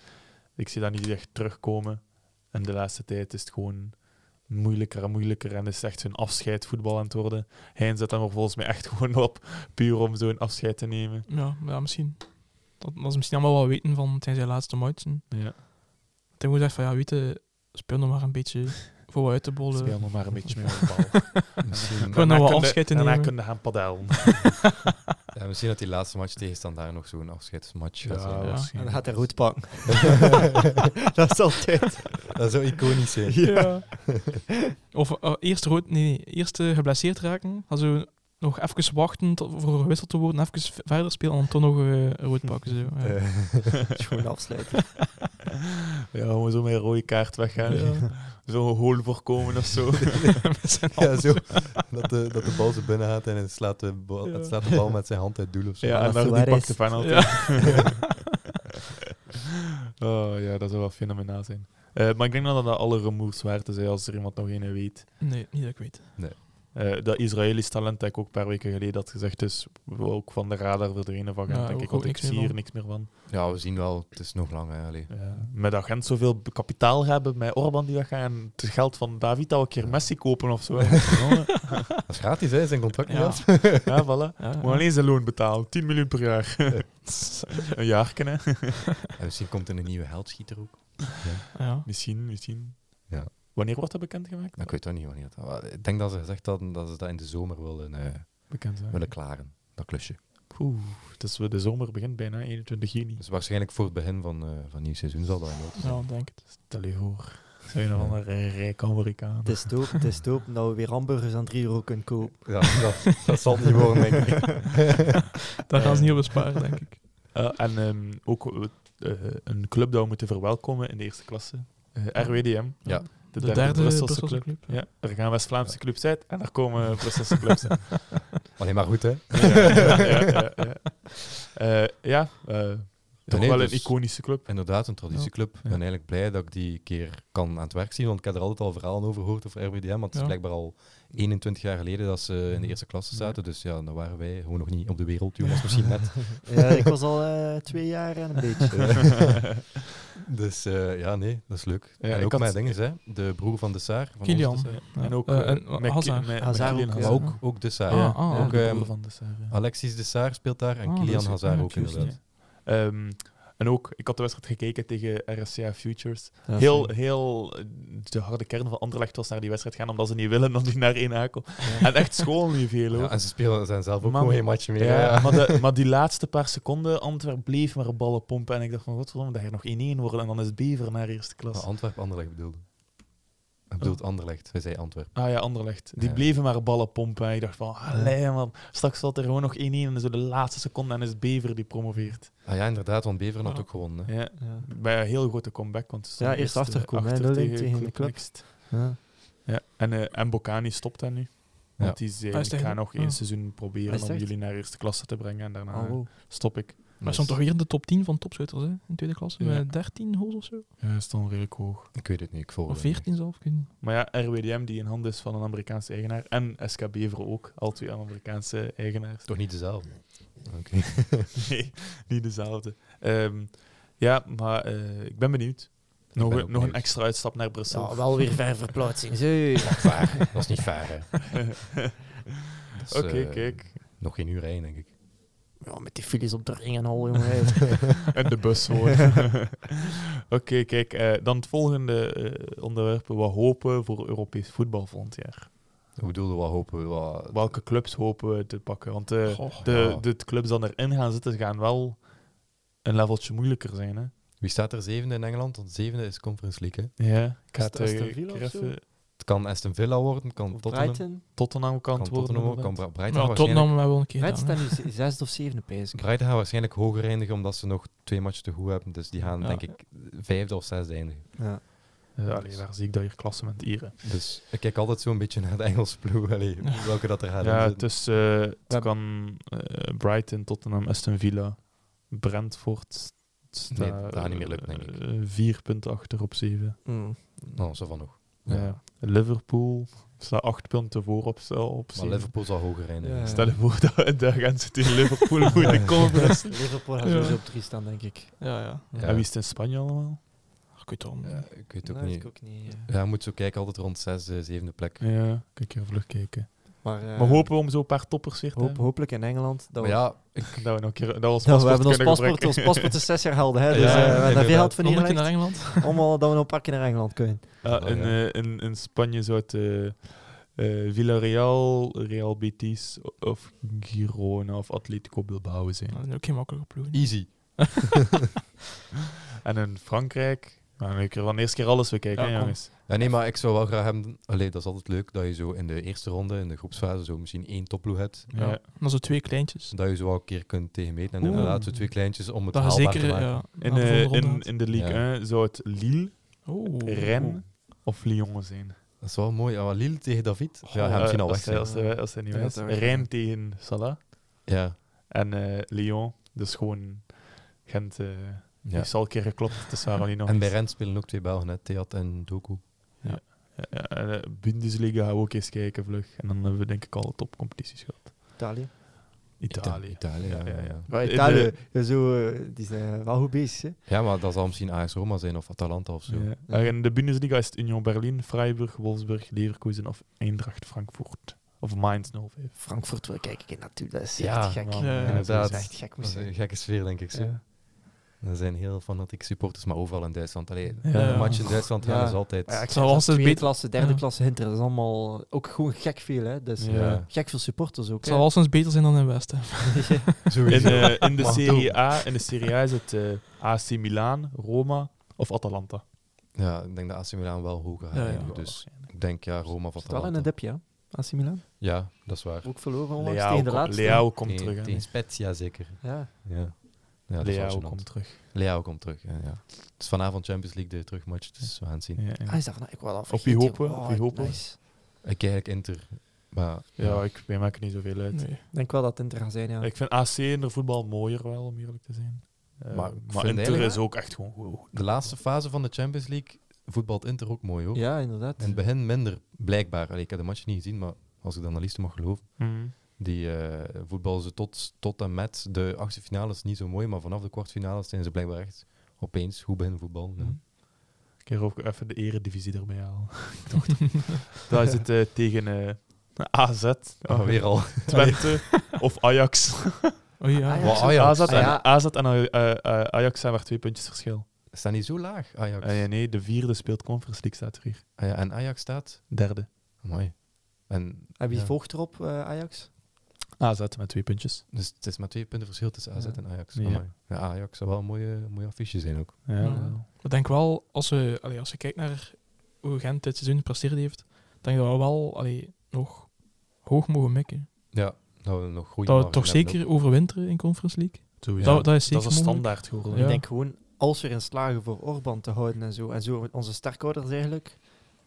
Speaker 3: Ik zie dat niet echt terugkomen. En de laatste tijd is het gewoon moeilijker en moeilijker. En is echt zijn afscheid voetbal aan het worden. Hij zet hem er volgens mij echt <laughs> gewoon op. Puur om zo'n afscheid te nemen.
Speaker 1: Ja, maar ja, misschien. Dat, dat ze misschien allemaal wel weten van tijdens zijn laatste matchen.
Speaker 3: Ja.
Speaker 1: Dat hij gewoon zegt van ja, weet je, speel nog maar een beetje vooruit te bollen.
Speaker 3: Speel nog maar een beetje meer met
Speaker 1: <laughs>
Speaker 3: de bal.
Speaker 2: Misschien,
Speaker 1: Gewoon nog
Speaker 3: Daarna
Speaker 1: wel
Speaker 3: kun je-
Speaker 1: afscheid te
Speaker 3: Daarna
Speaker 1: nemen.
Speaker 3: kunnen gaan padellen.
Speaker 2: ja, misschien dat die laatste match tegen daar nog zo'n afscheidsmatch gaat zijn.
Speaker 3: <laughs>
Speaker 1: ja.
Speaker 4: En dan gaat hij rood pakken. <laughs> dat is altijd.
Speaker 2: Dat zou iconisch <laughs> zijn.
Speaker 1: Ja. of eh, eerst rood, nee, nee, eerst eh, geblesseerd raken. Dan zo nog even wachten tot, voor gewisseld te worden, even v- verder spelen en dan toch nog eh, rood pakken. Zo. Ja.
Speaker 3: Eh,
Speaker 1: <laughs>
Speaker 4: Gewoon afsluiten.
Speaker 3: Ja, gewoon zo met een rode kaart weggaan.
Speaker 1: Ja.
Speaker 3: Zo'n goal voorkomen of
Speaker 1: <laughs>
Speaker 3: zo.
Speaker 1: Met zijn
Speaker 2: Ja,
Speaker 1: handen.
Speaker 2: zo. Dat de, dat de bal ze binnen gaat en het slaat, de bal, het slaat de bal met zijn hand uit het doel of zo.
Speaker 3: Ja,
Speaker 4: dat
Speaker 3: en dan
Speaker 4: Suarez-
Speaker 3: pakt de penalty.
Speaker 1: Ja.
Speaker 3: <laughs> oh ja, dat zou wel fenomenaal zijn. Eh, maar ik denk dat dat alle remoers waard is hè, als er iemand nog een weet.
Speaker 1: Nee, niet dat ik weet.
Speaker 3: Eh, dat Israëlisch talent dat ik ook een paar weken geleden had gezegd is ook van de radar verdwenen van Gent,
Speaker 1: Ja,
Speaker 3: denk
Speaker 1: ook-
Speaker 3: ik. Want
Speaker 1: ook
Speaker 3: ik
Speaker 1: niks meer
Speaker 3: zie hier
Speaker 1: van.
Speaker 3: niks meer van.
Speaker 2: Ja, we zien wel. Het is nog lang, hè. allee.
Speaker 3: Ja. Eh, Met dat Gent zoveel b- kapitaal hebben, met Orban die weggaan, en het geld van David al een keer Messi kopen of zo.
Speaker 2: <laughs>
Speaker 3: hè. Jongen.
Speaker 2: Dat is gratis, hè. Zijn contract niet
Speaker 1: Ja.
Speaker 2: af.
Speaker 3: ja, voilà.
Speaker 1: Ja,
Speaker 3: Moet alleen zijn loon betalen, 10 miljoen per jaar. <laughs> een jaar hè.
Speaker 2: <laughs> En misschien komt er een nieuwe heldschieter ook.
Speaker 1: ja.
Speaker 3: Misschien, misschien.
Speaker 2: Ja.
Speaker 3: Wanneer wordt dat bekendgemaakt?
Speaker 2: Maar Ik weet ook niet wanneer. dat- maar Ik denk dat ze gezegd hadden dat ze dat in de zomer willen, eh,
Speaker 3: Bekend zijn.
Speaker 2: willen klaren. Dat klusje.
Speaker 3: Oeh, dus de zomer begint bijna 21 juni.
Speaker 2: Dus waarschijnlijk voor het begin van, eh van nieuw seizoen zal dat wel nodig zijn.
Speaker 1: Ja, ik denk het.
Speaker 3: Stel je voor. Zijn nog een rijk Amerikaan.
Speaker 4: Het is te hopen- het is te hopen dat we weer hamburgers aan 3 euro kunnen kopen.
Speaker 2: Ja, dat, dat zal het niet worden, denk ik.
Speaker 1: Daar gaan
Speaker 3: Eh.
Speaker 1: ze niet op besparen, denk ik.
Speaker 3: Eh, en ehm, ook eh, eh, een club dat we moeten verwelkomen in de eerste klasse. Eh, RWDM.
Speaker 2: Ja.
Speaker 3: De,
Speaker 1: De,
Speaker 3: derde,
Speaker 1: derde
Speaker 3: Brusselse, club.
Speaker 1: club.
Speaker 3: Ja, er gaan West-Vlaamse clubs uit en er komen Brusselse clubs uit.
Speaker 2: Alleen maar goed, hè.
Speaker 3: ja, ja, ja, ja. Eh, ja, eh, toch
Speaker 2: nee,
Speaker 3: wel
Speaker 2: dus-
Speaker 3: een iconische club.
Speaker 2: Inderdaad, een traditieclub. Ik
Speaker 3: Ja.
Speaker 2: ben eigenlijk blij dat ik die keer kan aan het werk zien, want ik heb er altijd al verhalen over gehoord over RWDM, want het is
Speaker 1: Ja.
Speaker 2: blijkbaar al 21 jaar geleden dat ze in de eerste klasse zaten. Dus ja, dan waren wij gewoon nog niet op de wereld. U was misschien net.
Speaker 4: Ja, ik was al eh, twee jaar en een beetje.
Speaker 2: <laughs> dus eh, ja, nee, dat is leuk.
Speaker 3: Ja,
Speaker 2: en
Speaker 3: ik
Speaker 2: ook
Speaker 3: had-
Speaker 2: met dingen, hè. De broer van de Saar. Van ons
Speaker 1: Kilian.
Speaker 2: De Saar.
Speaker 1: Ja.
Speaker 3: En ook
Speaker 1: Eh,
Speaker 3: eh,
Speaker 1: en
Speaker 3: met-
Speaker 1: Hazard.
Speaker 3: met- met
Speaker 4: Hazard
Speaker 3: Kylian
Speaker 4: ook, ja.
Speaker 2: Maar
Speaker 3: Hazard.
Speaker 2: ook, ook de Saar.
Speaker 1: Ja.
Speaker 2: Ja.
Speaker 1: ah,
Speaker 2: ook,
Speaker 3: de
Speaker 2: ehm,
Speaker 3: broer van de Saar, ja.
Speaker 2: Alexis de Saar speelt daar en
Speaker 1: Ah, dat
Speaker 2: Kilian
Speaker 1: is-
Speaker 2: Hazard
Speaker 1: ah,
Speaker 2: ook
Speaker 1: juist,
Speaker 2: inderdaad.
Speaker 3: Ehm, en ook, ik had de wedstrijd gekeken tegen RSCA Futures.
Speaker 4: Ja,
Speaker 3: <laughs> heel, heel eh, de harde kern van Anderlecht was naar die wedstrijd gaan, omdat ze niet willen dat die naar één hakel. En echt schoon niet
Speaker 2: <laughs>
Speaker 3: veel hoor.
Speaker 2: Ja, en ze spelen zijn zelf ook
Speaker 3: Man.
Speaker 2: gewoon geen matje meer.
Speaker 3: Ja,
Speaker 2: Ja,
Speaker 3: Maar, de-
Speaker 2: <laughs>
Speaker 3: maar die laatste paar seconden, Antwerp bleef maar ballen pompen. En ik dacht van, godverdomme, dat gaat nog 1-1 worden. En dan is het Bever naar eerste
Speaker 2: Maar
Speaker 3: klas.
Speaker 2: Antwerpen Anderlecht bedoelde. Hij bedoelt Anderlecht, hij zei Antwerpen.
Speaker 3: Ah ja, Anderlecht. Die
Speaker 2: Ja.
Speaker 3: bleven maar ballen pompen. En ik dacht van, allee man, straks valt er gewoon nog 1-1. En zo de laatste seconde en is het Bever die promoveert.
Speaker 2: Ah ja, inderdaad, want Beveren had
Speaker 1: Ja.
Speaker 2: ook gewonnen. hè.
Speaker 3: Ja.
Speaker 4: Ja.
Speaker 3: Bij een heel grote comeback. Want ze
Speaker 4: Ja,
Speaker 3: stonden
Speaker 4: eerst
Speaker 3: eh,
Speaker 4: achterkomen, hè, 0-1 tegen de club.
Speaker 3: Next.
Speaker 4: Ja.
Speaker 3: Ja. En, eh en Bocani stopt daar nu.
Speaker 2: Ja.
Speaker 3: Want die zei,
Speaker 1: Hij is
Speaker 3: ik
Speaker 1: tegen- Ah.
Speaker 3: ga nog
Speaker 1: ja.
Speaker 3: één seizoen
Speaker 4: Hij
Speaker 3: proberen
Speaker 4: is
Speaker 3: om
Speaker 4: echt-
Speaker 3: jullie naar eerste klasse te brengen. En daarna
Speaker 4: Oh, wow.
Speaker 3: stop ik.
Speaker 1: Maar
Speaker 2: Dus
Speaker 1: hij stond toch weer in de top 10 van topschutters hè, in tweede klasse.
Speaker 3: Ja. Oh,
Speaker 1: Met 13 goals of zo.
Speaker 3: Ja, is dan redelijk hoog.
Speaker 2: Ik weet het niet, ik volg
Speaker 1: Of
Speaker 2: het niet.
Speaker 1: 14 zelf. Ik weet niet.
Speaker 3: Maar ja, RWDM die in handen is van een Amerikaanse eigenaar. En SK Beveren ook. Al twee Amerikaanse eigenaars. <laughs>
Speaker 2: Toch niet dezelfde? Oké.
Speaker 3: Nee, niet dezelfde. Ehm, ja, maar eh, ik ben benieuwd. Nog,
Speaker 2: ben
Speaker 3: een-
Speaker 2: ook
Speaker 3: nog een
Speaker 2: benieuwd.
Speaker 3: extra uitstap naar Brussel.
Speaker 4: Ja, wel weer ver <laughs> verplaatsing. Zo.
Speaker 3: <laughs>
Speaker 2: Vaar. Dat is niet vaar, hè.
Speaker 3: Oké,
Speaker 2: Dus, eh, <laughs>
Speaker 3: kijk.
Speaker 2: Nog geen uur rijden, denk ik.
Speaker 4: Ja, met die files op de ring en al, jongen. <laughs>
Speaker 3: En de bus hoor.
Speaker 2: <laughs>
Speaker 3: <laughs> Oké, kijk. eh, dan het volgende eh, onderwerp. Wat hopen we voor Europees voetbal volgend jaar?
Speaker 2: Hoe bedoelde wat hopen we? Wat...
Speaker 3: Welke clubs hopen we te pakken? Want eh,
Speaker 2: Goh,
Speaker 3: de,
Speaker 2: ja.
Speaker 3: de clubs die erin gaan zitten, gaan wel een leveltje moeilijker zijn. Hè?
Speaker 2: Wie staat er zevende in Engeland? Want zevende is Conference League. Hè?
Speaker 3: Ja, ik ga
Speaker 4: Is het
Speaker 3: het eh,
Speaker 4: Aston Villa
Speaker 3: keer
Speaker 4: of zo?
Speaker 3: even-
Speaker 2: Het kan Aston Villa worden, het kan
Speaker 4: Of
Speaker 2: Tottenham.
Speaker 4: Brighton.
Speaker 3: Tottenham kan
Speaker 2: Kan
Speaker 3: het worden.
Speaker 2: Tottenham, worden, kan
Speaker 3: inderdaad.
Speaker 2: Bra- Brighton.
Speaker 1: Maar
Speaker 2: waarschijnlijk-
Speaker 1: Tottenham hebben we een keer
Speaker 4: Brighton
Speaker 1: gedaan.
Speaker 4: staat nu z- zesde of zevende, pijs ik.
Speaker 2: Brighton gaat waarschijnlijk hoger eindigen omdat ze nog twee matchen te goed hebben. Dus die gaan
Speaker 3: Ja.
Speaker 2: denk ik vijfde of zesde eindigen.
Speaker 4: Ja.
Speaker 3: Ja, allee, daar zie ik dat hier klassement hier. hè.
Speaker 2: Dus ik kijk altijd zo'n beetje naar de Engelse ploeg. Allee, welke dat er gaat
Speaker 3: Ja,
Speaker 2: in
Speaker 3: het,
Speaker 2: zitten.
Speaker 3: is, eh, het
Speaker 4: Ja.
Speaker 3: kan eh, Brighton, Tottenham, Aston Villa, Brentford. staat,
Speaker 2: Nee, dat gaat niet meer lukken, denk ik.
Speaker 3: eh, vier punten achter op zeven.
Speaker 4: Mm.
Speaker 2: Nou, zo van nog.
Speaker 3: Ja. Liverpool staat acht punten voor op, ze- op
Speaker 2: Maar
Speaker 3: zeven.
Speaker 2: Liverpool zal hoger eindigen.
Speaker 4: Ja.
Speaker 3: Stel je voor <laughs> dat daar gaan ze tegen
Speaker 2: <laughs>
Speaker 3: Liverpool voor <laughs> de conference.
Speaker 4: <laughs> Liverpool gaat
Speaker 1: Ja.
Speaker 4: sowieso op drie staan, denk ik.
Speaker 1: Ja, ja.
Speaker 2: Ja.
Speaker 3: En wie is het in Spanje allemaal?
Speaker 1: Ik weet het
Speaker 2: Ja, ik weet het
Speaker 4: dat
Speaker 2: ook
Speaker 4: weet
Speaker 2: niet.
Speaker 4: Nou, ik ook niet. eh. ja.
Speaker 2: Ja, je moet zo kijken, altijd rond zesde, zevende plek.
Speaker 3: Ja, kijk even vlug kijken.
Speaker 4: Maar, eh,
Speaker 3: maar hopen we om zo'n paar toppers weer te
Speaker 4: hoop-
Speaker 3: hebben?
Speaker 4: hopelijk in Engeland. Dat
Speaker 2: Maar
Speaker 4: we,
Speaker 2: ja,
Speaker 3: Dat we nog een keer dat we ons
Speaker 4: dat
Speaker 3: paspoort
Speaker 4: we hebben ons paspoort,
Speaker 3: kunnen
Speaker 4: ons
Speaker 3: gebruiken.
Speaker 4: paspoort is zes jaar gelden, hè.
Speaker 2: Ja,
Speaker 4: Dus eh, we hebben
Speaker 2: inderdaad.
Speaker 4: veel geld van
Speaker 1: Nog
Speaker 4: hier
Speaker 1: een keer naar
Speaker 4: gelegd,
Speaker 1: Engeland.
Speaker 4: Allemaal dat we nog een paar keer naar Engeland kunnen.
Speaker 3: Ja,
Speaker 2: Oh,
Speaker 3: in,
Speaker 2: ja.
Speaker 3: eh, in, in Spanje zou het eh, eh, Villarreal, Real Betis of Girona of Atletico Bilbao zijn.
Speaker 1: Dat is ook geen makkelijke ploeg.
Speaker 2: easy.
Speaker 3: En in Frankrijk, nou, dan kunnen we van eerst keer alles bekijken,
Speaker 1: Ja,
Speaker 3: hè,
Speaker 1: kom.
Speaker 3: jongens.
Speaker 2: Ja, nee, maar ik zou wel graag hebben... Allee, dat is altijd leuk, dat je zo in de eerste ronde, in de groepsfase, zo misschien één topploeg hebt. Dus
Speaker 1: Ja.
Speaker 3: Ja.
Speaker 1: Dan zo twee kleintjes.
Speaker 2: Dat je zo wel een keer kunt tegenmeten. En
Speaker 1: Oeh.
Speaker 2: inderdaad, zo twee kleintjes om het
Speaker 1: Dat je
Speaker 2: haalbaar
Speaker 1: zeker
Speaker 2: te maken.
Speaker 1: ja,
Speaker 3: In,
Speaker 1: naar de
Speaker 3: eh,
Speaker 1: volgende ronde
Speaker 3: in,
Speaker 1: gaat.
Speaker 3: in de Ligue
Speaker 2: Ja.
Speaker 3: 1 zou het Lille,
Speaker 1: Oeh.
Speaker 3: Rennes of Lyon zijn.
Speaker 2: Dat is wel mooi. Ja, maar Lille tegen David?
Speaker 3: Goh,
Speaker 2: ja, hij
Speaker 3: eh,
Speaker 2: misschien al
Speaker 3: als
Speaker 2: weg
Speaker 3: hij-
Speaker 2: zijn.
Speaker 3: Als hij, als hij niet
Speaker 4: Ja,
Speaker 3: weg
Speaker 4: dat
Speaker 3: is.
Speaker 4: zou weg
Speaker 3: Rennes
Speaker 4: zijn.
Speaker 3: tegen Salah
Speaker 2: Ja.
Speaker 3: en eh, Lyon. Dus gewoon Gent eh
Speaker 2: ja.
Speaker 3: heeft al een keer geklopt tussen haar nog
Speaker 2: En bij
Speaker 3: eens.
Speaker 2: Rent spelen ook twee Belgen, hè. Theat en Doku.
Speaker 3: Ja, ja, en, eh, Bundesliga gaan we ook eens kijken vlug. En dan hebben we denk ik alle topcompetities gehad.
Speaker 4: Italië.
Speaker 3: Italië.
Speaker 2: Italië, ja.
Speaker 3: Ja,
Speaker 2: Ja,
Speaker 3: ja.
Speaker 2: ja.
Speaker 4: Maar
Speaker 3: In de-
Speaker 4: Italië, zo, eh, die zijn wel goed bezig, hè.
Speaker 2: Ja, maar dat zal misschien AS Roma zijn of Atalanta of zo.
Speaker 3: Ja. En in de Bundesliga is het Union Berlin, Freiburg, Wolfsburg, Leverkusen of Eindracht Frankfurt. Of Mainz 05.
Speaker 4: Frankfurt wil kijken ik naartoe, dat is
Speaker 2: Ja,
Speaker 4: echt gek.
Speaker 3: man,
Speaker 1: Ja,
Speaker 4: dat
Speaker 2: inderdaad.
Speaker 4: is echt gek.
Speaker 2: Dat is
Speaker 4: moest
Speaker 2: een
Speaker 4: zijn.
Speaker 2: gekke sfeer, denk ik. Zo.
Speaker 3: Ja.
Speaker 2: Er zijn heel fanatieke supporters, maar overal in Duitsland. Allee,
Speaker 3: Ja.
Speaker 2: Een match in Duitsland gaan
Speaker 4: Ja.
Speaker 2: is altijd...
Speaker 4: Maar ja, ik
Speaker 1: Zou
Speaker 4: zeg,
Speaker 1: als het
Speaker 4: tweede
Speaker 1: beter-
Speaker 4: klasse, derde
Speaker 1: Ja.
Speaker 4: klasse, hinter, dat is allemaal ook gewoon gek veel, hè. Dus
Speaker 3: Ja.
Speaker 2: Ja.
Speaker 4: gek veel supporters ook,
Speaker 1: Het
Speaker 4: hè.
Speaker 1: zal wel eens beter zijn dan in Westen.
Speaker 3: In,
Speaker 2: Sowieso.
Speaker 3: eh, in, de
Speaker 2: Maar
Speaker 3: serie A, in de Serie A is het eh, AC Milan, Roma of Atalanta.
Speaker 2: <laughs> Ja, ik denk dat AC Milan wel hoger gaat
Speaker 1: Ja, ja.
Speaker 2: eindigen, Dus ik denk, ja, Roma
Speaker 4: Zit
Speaker 2: of
Speaker 4: wel in
Speaker 2: Atalanta.
Speaker 4: een dipje, hè. AC Milan.
Speaker 2: Ja, dat is waar.
Speaker 4: Ook verloren onlangs
Speaker 3: Leao,
Speaker 4: tegen de
Speaker 3: kom-
Speaker 4: laatste.
Speaker 3: Leao komt
Speaker 2: Tegen-
Speaker 3: terug. hè.
Speaker 2: Tegen Spezia zeker.
Speaker 4: Ja.
Speaker 2: Ja. Ja, dat is wel
Speaker 3: Leao
Speaker 2: gênant.
Speaker 3: komt terug.
Speaker 2: Leao komt terug. Ja, ja. Het is vanavond Champions League de terugmatch, dus we gaan het zien.
Speaker 3: Ja, ja.
Speaker 4: Ah, is dat van, ik wou dat
Speaker 3: Op wie
Speaker 4: vergeten,
Speaker 3: hopen,
Speaker 4: joh.
Speaker 3: op wie
Speaker 4: Oh,
Speaker 3: hopen.
Speaker 4: nice.
Speaker 2: Ik kijk eigenlijk Inter, maar
Speaker 3: Ja, ik, wij maken niet zoveel uit.
Speaker 1: Nee.
Speaker 4: Ik denk wel dat het Inter gaat zijn, ja.
Speaker 3: Ik vind AC in de voetbal mooier wel, om eerlijk te zijn. Eh,
Speaker 2: Maar
Speaker 3: maar
Speaker 2: ik vind
Speaker 3: Inter
Speaker 2: eigenlijk-
Speaker 3: is ook echt gewoon goed.
Speaker 2: de laatste fase van de Champions League voetbalt Inter ook mooi hoor.
Speaker 4: Ja, inderdaad.
Speaker 2: In het begin minder, blijkbaar. Allee, ik heb de match niet gezien, maar als ik de analisten mag geloven,
Speaker 1: Mm.
Speaker 2: die eh, voetballen ze tot, tot en met de achtste finales niet zo mooi, maar vanaf de kwartfinales zijn ze blijkbaar echt opeens goed beginnen voetbal. Ja.
Speaker 3: Mhm. Ik ga er ook even de eredivisie erbij halen. <laughs> Ik dacht het.
Speaker 1: <laughs>
Speaker 3: Daar is het eh, tegen eh, AZ,
Speaker 2: Ah, weer <laughs> al.
Speaker 3: <laughs> Twente
Speaker 1: <laughs>
Speaker 3: of Ajax.
Speaker 1: Oh ja.
Speaker 3: <laughs>
Speaker 4: Ajax.
Speaker 2: Wat, Ajax?
Speaker 3: AZ, en,
Speaker 4: Ah, ja.
Speaker 3: AZ en eh, eh, eh, Ajax zijn maar twee puntjes verschil.
Speaker 2: Staan die zo laag, Ajax?
Speaker 3: Eh, nee, de vierde speelt Conference League, staat er hier.
Speaker 2: Ah ja, en Ajax staat?
Speaker 3: Derde.
Speaker 2: Mooi. En
Speaker 4: En wie
Speaker 2: Ja.
Speaker 4: volgt erop, eh, Ajax?
Speaker 3: AZ met twee puntjes.
Speaker 2: Dus het is maar twee punten verschil tussen AZ
Speaker 4: Ja.
Speaker 2: en Ajax.
Speaker 3: Ja.
Speaker 2: Amai. Ja, Ajax zou wel een mooie, mooie affiche zijn ook.
Speaker 3: Ja,
Speaker 1: Oh, Ja.
Speaker 3: wel.
Speaker 1: Ik denk wel, als je, allee, als je kijkt naar hoe Gent dit seizoen gepresteerd heeft, denk ik dat we wel allee, nog hoog mogen mikken.
Speaker 2: Ja, dat we nog groeien.
Speaker 1: Dat we
Speaker 2: margen
Speaker 1: toch
Speaker 2: hebben
Speaker 1: zeker overwinteren in Conference League.
Speaker 3: Sowieso.
Speaker 1: Dat, dat is
Speaker 3: dat
Speaker 1: zeker
Speaker 3: is een
Speaker 1: mogelijk.
Speaker 3: standaard geworden.
Speaker 1: Ja.
Speaker 4: Ik denk gewoon, als we erin slagen voor Orban te houden en zo, en zo onze sterkouders eigenlijk,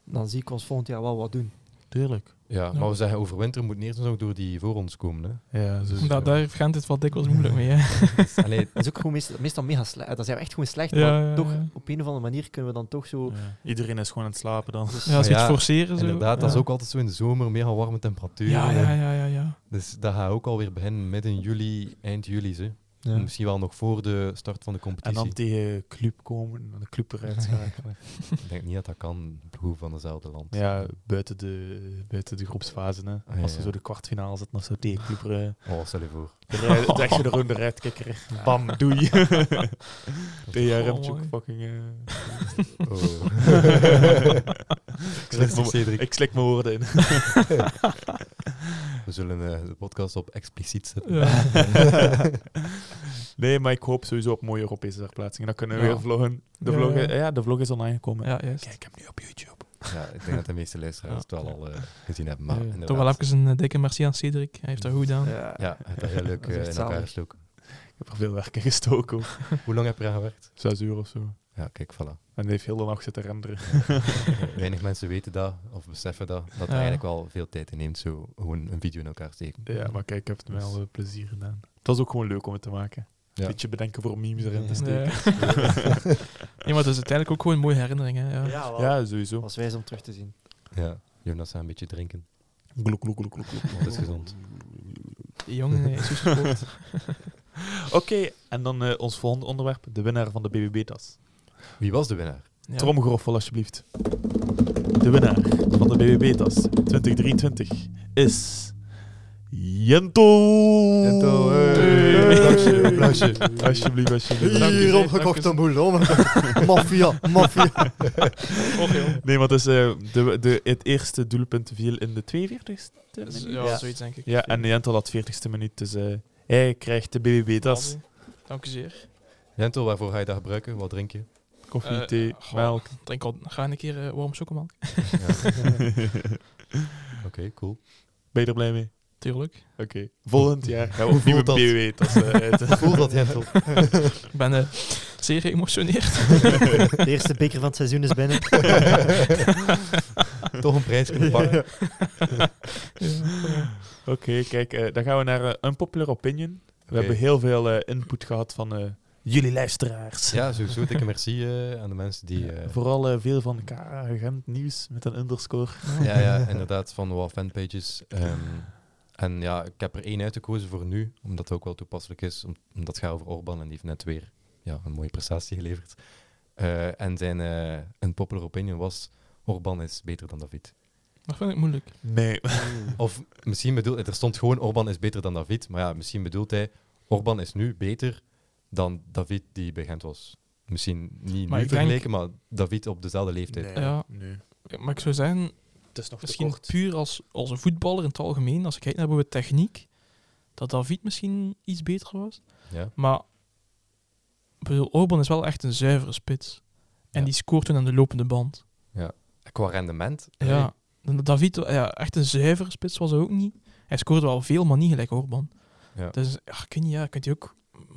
Speaker 4: dan zie ik ons volgend jaar wel wat doen.
Speaker 3: Tuurlijk.
Speaker 2: ook. Ja, maar we zeggen overwinter moet eerst nog door die voor ons komen.
Speaker 3: <laughs>
Speaker 2: Hè. Dus,
Speaker 3: Ja, zo is het
Speaker 1: Daar,
Speaker 3: wel.
Speaker 1: daar gaat het wel dikwijls moeilijk mee. Hè.
Speaker 2: Allee,
Speaker 4: Dat is ook gewoon meestal, meestal mega slecht. Dan zijn we echt gewoon slecht,
Speaker 1: Ja,
Speaker 4: maar
Speaker 1: ja, ja.
Speaker 4: toch, op een of andere manier kunnen we dan toch zo...
Speaker 3: Ja. Iedereen is gewoon aan het slapen dan.
Speaker 4: Dus,
Speaker 1: Ja, als we
Speaker 2: Ja,
Speaker 1: iets forceren. Zo.
Speaker 2: inderdaad, dat is
Speaker 1: Ja.
Speaker 2: ook altijd zo in de zomer, mega warme temperaturen.
Speaker 1: Ja, ja, ja, ja. ja.
Speaker 2: Dus dat gaat ook alweer beginnen midden juli, eind juli. Hè.
Speaker 4: Ja.
Speaker 2: Misschien wel nog voor de start van de
Speaker 3: En
Speaker 2: competitie.
Speaker 3: dan tegen club komen en de club
Speaker 1: <laughs>
Speaker 3: eruit schakelen.
Speaker 2: Ik denk niet dat dat kan, ploeg van dezelfde land.
Speaker 3: ja, buiten de, buiten de groepsfase. Hè.
Speaker 2: ja,
Speaker 3: Als ze
Speaker 2: ja.
Speaker 3: zo de kwartfinale zitten of zo tegen
Speaker 1: <laughs>
Speaker 3: club eruit.
Speaker 2: Oh, stel je voor.
Speaker 3: Dan je er een eruit, kijk er. Bam,
Speaker 1: <laughs>
Speaker 3: doei. <laughs> tegen
Speaker 1: Oh,
Speaker 3: Remtje ook
Speaker 1: mooi.
Speaker 3: fucking... eh,
Speaker 2: Oh.
Speaker 3: Ik slik mijn-
Speaker 2: Cedric.
Speaker 3: Ik slik mijn woorden in.
Speaker 1: <laughs>
Speaker 2: We zullen eh, de podcast op expliciet zetten.
Speaker 1: Ja.
Speaker 3: nee, maar ik hoop sowieso op mooie Europese verplaatsingen. Dan kunnen we
Speaker 1: Ja.
Speaker 3: weer vloggen. De,
Speaker 1: Ja,
Speaker 3: vlog,
Speaker 1: ja.
Speaker 3: ja, de vlog is online gekomen.
Speaker 1: ja, juist.
Speaker 3: Kijk hem nu op YouTube.
Speaker 2: Ja, ik denk dat de meeste luisteraars
Speaker 1: Ja.
Speaker 2: het wel al eh, gezien hebben. Maar
Speaker 1: Eh,
Speaker 2: inderdaad.
Speaker 1: toch wel even een eh, dikke merci aan Cedric. Hij heeft dat goed gedaan.
Speaker 4: Ja.
Speaker 2: Ja, het is heel leuk
Speaker 4: Dat is
Speaker 2: eh,
Speaker 4: echt
Speaker 2: in elkaar
Speaker 4: zalig.
Speaker 2: gesloken.
Speaker 3: Ik heb er veel werk in gestoken. hoor.
Speaker 2: Hoe lang heb je eraan gewerkt?
Speaker 3: Zes uur of zo.
Speaker 2: Ja, kijk, voilà. Eh,
Speaker 3: En die heeft heel de nacht zitten renderen.
Speaker 2: Weinig mensen weten dat, of beseffen dat, dat er
Speaker 1: Ja.
Speaker 2: eigenlijk wel veel tijd in neemt, zo gewoon een video in elkaar steken.
Speaker 3: Ja, maar kijk, ik heb het mij al eh, plezier gedaan. Het was ook gewoon leuk om het te maken.
Speaker 2: Dus- Ja.
Speaker 3: Een beetje bedenken voor memes erin
Speaker 2: Ja.
Speaker 3: te steken.
Speaker 1: nee, maar het is uiteindelijk ook gewoon een mooie herinnering. Hè? Ja.
Speaker 4: Ja, wel.
Speaker 3: Ja, sowieso.
Speaker 4: was wijs om terug te zien.
Speaker 2: Ja. Jonas, ga een beetje drinken.
Speaker 3: Gloek, gloek,
Speaker 2: <laughs>
Speaker 3: gloek, gloek, gloek.
Speaker 2: Dat is gezond.
Speaker 1: Die jongen eh, is zo sport.
Speaker 3: Oké, en dan eh, ons volgende onderwerp. De winnaar van de BBB-tas.
Speaker 2: Wie was de winnaar?
Speaker 1: Ja.
Speaker 3: Tromgeroffel, alsjeblieft. De winnaar van de BBB-tas 2023 is... Jento!
Speaker 2: Jento, hey.
Speaker 3: Hey.
Speaker 2: Applausje, applausje.
Speaker 3: Alsjeblieft, alsjeblieft.
Speaker 1: Dank u,
Speaker 4: Hier
Speaker 1: dank u.
Speaker 4: omgekocht een boel,
Speaker 3: <laughs>
Speaker 4: omgekocht. Maffia, maffia.
Speaker 3: Nee, want het, is, eh, de, de, het eerste doelpunt viel in de 42e
Speaker 1: Dus,
Speaker 3: minuut.
Speaker 1: ja,
Speaker 4: Ja.
Speaker 1: zoiets denk ik.
Speaker 3: Ja, en Jento had 40e minuut, dus eh, hij krijgt de BBB-tas.
Speaker 1: Dank u zeer.
Speaker 2: Jentel, waarvoor ga je dat gebruiken? Wat drink je?
Speaker 3: Koffie,
Speaker 1: Eh,
Speaker 3: thee,
Speaker 1: goh.
Speaker 3: melk.
Speaker 1: Drink al, ga een keer eh, warm chocomelk.
Speaker 2: Ja. Oké, cool.
Speaker 3: Ben je er blij mee?
Speaker 1: Tuurlijk.
Speaker 3: Oké. Volgend <laughs> jaar gaan we
Speaker 2: Hoe
Speaker 3: opnieuw een
Speaker 2: voelt
Speaker 3: BBB-tas eh, eten.
Speaker 2: Voel dat, Jentel.
Speaker 1: Ik ben eh, zeer geëmotioneerd. <laughs>
Speaker 4: De eerste beker van het seizoen is binnen.
Speaker 2: <laughs> Toch een prijs kunnen pakken.
Speaker 3: <laughs> Oké, kijk, eh, dan gaan we naar een unpopular opinion. We
Speaker 2: Oké.
Speaker 3: hebben heel veel eh, input gehad van eh, jullie luisteraars.
Speaker 2: Ja, sowieso. Dikke merci eh, aan de mensen die... eh,
Speaker 3: Vooral eh, veel van Kara Gent nieuws met een underscore.
Speaker 2: ja, <laughs> ja, inderdaad, van wat fanpages. Ehm, en ja, ik heb er één uitgekozen voor nu, omdat het ook wel toepasselijk is. om- Omdat het gaat over Orban en die heeft net weer ja, een mooie prestatie geleverd. Eh, en zijn eh een popular opinion was, Orban is beter dan David.
Speaker 1: Dat vind ik moeilijk.
Speaker 3: Nee.
Speaker 2: <laughs> Of misschien bedoelt, er stond gewoon Orban is beter dan David, maar ja, misschien bedoelt hij, Orban is nu beter dan David die bij Gent was. Misschien niet
Speaker 1: Maar
Speaker 2: nu
Speaker 1: ik denk-
Speaker 2: vergeleken, maar David op dezelfde leeftijd.
Speaker 1: Ja.
Speaker 3: nee.
Speaker 1: Maar ik zou zeggen,
Speaker 3: Het is nog
Speaker 1: misschien
Speaker 3: te kort.
Speaker 1: puur als, als een voetballer in het algemeen, als ik kijk naar bijvoorbeeld techniek, dat David misschien iets beter was.
Speaker 2: Ja?
Speaker 1: Maar ik bedoel, Orban is wel echt een zuivere spits. En
Speaker 2: Ja.
Speaker 1: die scoort toen aan de lopende band.
Speaker 2: Qua rendement. eh,
Speaker 1: Ja. Dan David, ja, echt een zuivere spits was hij ook niet. Hij scoorde wel veel, maar niet gelijk Orban.
Speaker 2: Ja.
Speaker 1: Dus ja, kun je, ja, kunt je ook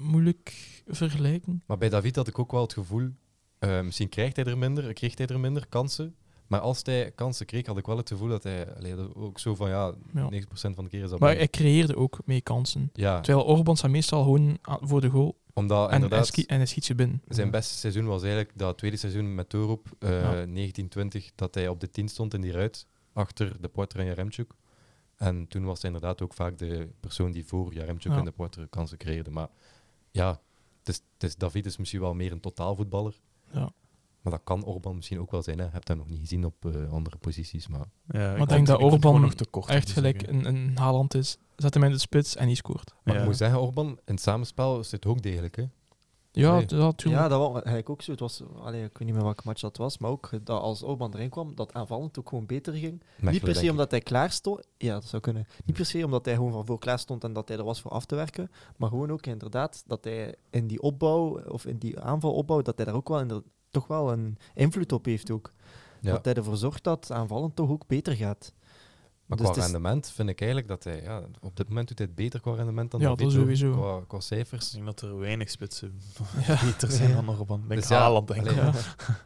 Speaker 1: moeilijk vergelijken.
Speaker 2: Maar bij David had ik ook wel het gevoel, eh, misschien krijgt hij er minder, kreeg hij er minder kansen. Maar als hij kansen kreeg, had ik wel het gevoel dat hij allee, dat ook zo van ja, 90%
Speaker 1: Ja.
Speaker 2: van de keer is dat.
Speaker 1: Maar
Speaker 2: bij-
Speaker 1: hij creëerde ook mee kansen.
Speaker 2: ja,
Speaker 1: Terwijl Orban staat meestal gewoon aan- voor de goal
Speaker 2: omdat
Speaker 1: en, hij
Speaker 2: inderdaad
Speaker 1: schiet, en hij schiet ze binnen.
Speaker 2: zijn beste seizoen was eigenlijk dat tweede seizoen met Torup, eh
Speaker 1: Ja.
Speaker 2: 1920, dat hij op de 10 stond in die ruit achter de Poitre en Jaremchuk. En toen was hij inderdaad ook vaak de persoon die voor Jaremchuk
Speaker 1: Ja.
Speaker 2: en de Poitre kansen creëerde. Maar ja, het is, het is, David is misschien wel meer een totaalvoetballer.
Speaker 1: Ja.
Speaker 2: Maar dat kan Orban misschien ook wel zijn. Hè. Je hebt hem nog niet gezien op eh, andere posities. Maar
Speaker 3: Ja,
Speaker 1: ik denk
Speaker 3: vond
Speaker 1: dat
Speaker 3: het gewoon
Speaker 1: Orban
Speaker 3: te kort om
Speaker 1: Echt
Speaker 3: te
Speaker 1: gelijk
Speaker 3: zeggen.
Speaker 1: een, een Haaland is. Zet hem in de spits en die scoort.
Speaker 2: Maar
Speaker 3: Ja.
Speaker 2: ik moet zeggen, Orban, in het samenspel zit ook degelijk. Hè?
Speaker 1: Ja,
Speaker 2: Nee.
Speaker 1: dat tuurlijk.
Speaker 4: Ja, dat was eigenlijk ook zo. Het was, allee, ik weet niet meer welke match dat was, maar ook dat als Orban erin kwam, dat aanvallend ook gewoon beter ging. niet per se
Speaker 2: Mechelen, denk
Speaker 4: omdat hij klaar stond. Ja, dat zou kunnen. Niet per se omdat hij gewoon van voor klaar stond en dat hij er was voor af te werken. Maar gewoon ook inderdaad dat hij in die opbouw, of in die aanvalopbouw, dat hij daar ook wel inder- toch wel een invloed op heeft ook.
Speaker 2: ik. Ja.
Speaker 4: Dat hij ervoor zorgt dat aanvallend toch ook beter gaat.
Speaker 2: Maar
Speaker 4: dus
Speaker 2: qua
Speaker 4: het is-
Speaker 2: rendement vind ik eigenlijk dat hij... Ja, op dit moment doet hij het beter qua rendement dan
Speaker 1: Ja,
Speaker 2: David
Speaker 1: dat
Speaker 2: ook,
Speaker 1: sowieso.
Speaker 2: Qua, qua
Speaker 3: Ik
Speaker 2: cijfers.
Speaker 3: denk dat er weinig spitsen
Speaker 1: Ja.
Speaker 3: <laughs> beter zijn
Speaker 4: Ja.
Speaker 3: dan Orban. Ik denk
Speaker 2: Dus ja,
Speaker 3: Haaland, denk ik.
Speaker 2: allee,
Speaker 3: Ja,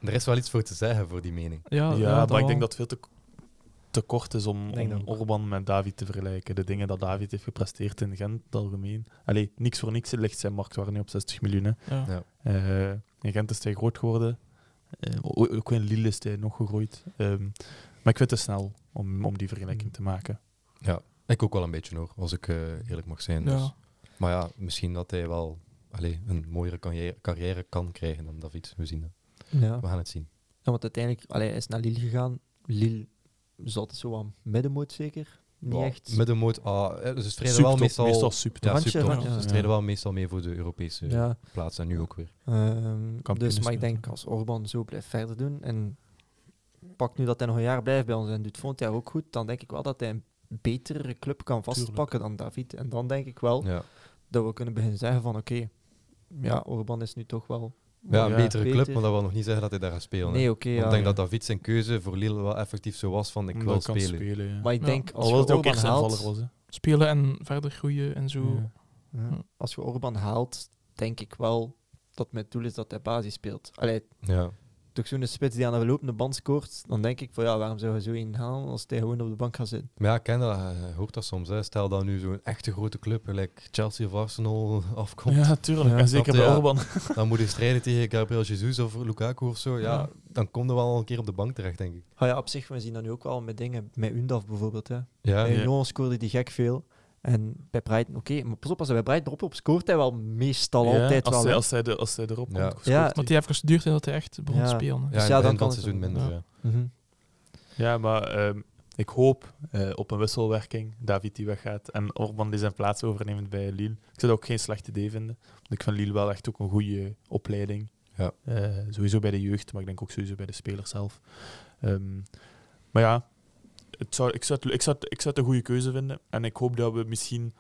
Speaker 1: Ja.
Speaker 2: Er is wel iets voor te zeggen voor die mening.
Speaker 1: Ja,
Speaker 3: maar ik
Speaker 1: wel.
Speaker 3: denk dat het veel te, te kort is om,
Speaker 4: Ik denk
Speaker 3: om
Speaker 4: dat ook.
Speaker 3: Orban met David te vergelijken. De dingen dat David heeft gepresteerd in Gent, in het algemeen. Allee, niks voor niks ligt zijn marktwaarde nu op 60 miljoen. hè.
Speaker 1: Ja.
Speaker 2: Ja.
Speaker 3: Eh, in Gent is hij groot geworden. Eh, o- ook in Lille is hij nog gegroeid. Ehm, maar ik vind het te snel om, om die vergelijking te maken.
Speaker 2: Ja, ik ook wel een beetje hoor, als ik eh, eerlijk mag zijn.
Speaker 1: Ja.
Speaker 2: Dus. Maar ja, misschien dat hij wel allee, een mooiere carrière, carrière kan krijgen dan David. We zien dat.
Speaker 4: Ja.
Speaker 2: We gaan het zien.
Speaker 4: Ja, want uiteindelijk allee, hij is naar Lille gegaan. Lille zat zo aan middenmoot zeker. Niet
Speaker 2: Ja,
Speaker 4: echt.
Speaker 2: Met een moot A. eh, dus ze streden wel
Speaker 3: Subtop,
Speaker 2: meestal...
Speaker 3: meestal subtop.
Speaker 2: ja,
Speaker 4: Randje,
Speaker 2: subtop.
Speaker 4: randje,
Speaker 2: Ze
Speaker 4: ja.
Speaker 2: streden wel meestal mee voor de Europese
Speaker 4: ja,
Speaker 2: plaats. En nu ook weer.
Speaker 4: ehm,
Speaker 3: Kampioen
Speaker 4: dus,
Speaker 3: is
Speaker 4: maar ik
Speaker 3: met-
Speaker 4: denk als Orban zo blijft verder doen en pakt nu dat hij nog een jaar blijft bij ons en doet volgend jaar ook goed, dan denk ik wel dat hij een betere club kan vastpakken dan David. En dan denk ik wel
Speaker 2: Ja.
Speaker 4: dat we kunnen beginnen zeggen van oké, ja, Orban is nu toch wel...
Speaker 2: Ja, een
Speaker 3: Ja,
Speaker 2: betere club,
Speaker 4: beter.
Speaker 2: maar dat wil nog niet zeggen dat hij daar gaat spelen. hè.
Speaker 4: Nee, oké,
Speaker 2: Want
Speaker 4: ja.
Speaker 2: ik denk dat David zijn keuze voor Lille wel effectief zo was van ik
Speaker 3: Omdat
Speaker 2: wil
Speaker 3: hij kan
Speaker 2: Mm, spelen.
Speaker 3: ja.
Speaker 4: Maar ik
Speaker 1: Ja.
Speaker 4: denk, als
Speaker 3: Alhoewel
Speaker 4: je
Speaker 3: het ook
Speaker 4: Orban
Speaker 3: eerst
Speaker 4: haalt...
Speaker 3: aanvaller was. Hè.
Speaker 1: Spelen en verder groeien en zo.
Speaker 3: Ja.
Speaker 4: Ja.
Speaker 1: Ja.
Speaker 4: Als je Orban haalt, denk ik wel dat mijn doel is dat hij basis speelt. Allee,
Speaker 2: Ja.
Speaker 4: toch zo'n spits die aan de lopende band scoort, dan denk ik van ja, waarom zou je zo één halen als hij gewoon op de bank gaat zitten?
Speaker 2: Maar ja, ik ken dat, eh, hoort dat soms. Hè. Stel dat nu zo'n echte grote club, gelijk Chelsea of Arsenal, <laughs> afkomt.
Speaker 3: Ja, tuurlijk.
Speaker 4: Ja.
Speaker 3: en zeker
Speaker 2: Dat,
Speaker 3: bij
Speaker 2: ja.
Speaker 3: Orban.
Speaker 2: Dan moet hij strijden tegen Gabriel Jesus of Lukaku of zo. Ja,
Speaker 1: Ja.
Speaker 2: dan komt er wel een keer op de bank terecht, denk ik.
Speaker 4: Ah ja, op zich, we zien dat nu ook wel met dingen, met Undaf bijvoorbeeld. Hè.
Speaker 2: Ja,
Speaker 4: bij
Speaker 3: ja.
Speaker 4: Lyon scoorde die gek veel. En bij Brighton, oké, maar pas op, als hij bij Brighton erop op scoort hij wel meestal
Speaker 3: Ja,
Speaker 4: altijd
Speaker 3: als
Speaker 4: wel.
Speaker 3: Hij,
Speaker 4: hè.
Speaker 3: als, hij de, als hij erop
Speaker 2: Ja.
Speaker 3: komt.
Speaker 4: Ja.
Speaker 3: scoort
Speaker 1: Want
Speaker 3: hij.
Speaker 1: die heeft gestuurd dat hij echt begon te
Speaker 4: Ja.
Speaker 1: spelen. hè.
Speaker 2: ja,
Speaker 4: Dus ja,
Speaker 2: in
Speaker 4: dan
Speaker 2: het begin van
Speaker 4: kan
Speaker 2: het
Speaker 4: het
Speaker 2: seizoen
Speaker 4: wel.
Speaker 2: minder.
Speaker 1: Ja.
Speaker 2: ja.
Speaker 4: Mhm.
Speaker 3: ja, maar ehm, ik hoop eh, op een wisselwerking. David die weggaat en Orban die zijn plaats overneemt bij Lille. Ik zou dat ook geen slecht idee vinden. Want ik vind Lille wel echt ook een goede opleiding.
Speaker 2: Ja.
Speaker 3: Eh, sowieso bij de jeugd, maar ik denk ook sowieso bij de spelers zelf. Ehm, maar ja, het zou, ik, zou het, ik, zou het, ik zou het een goede keuze vinden. En ik hoop dat we misschien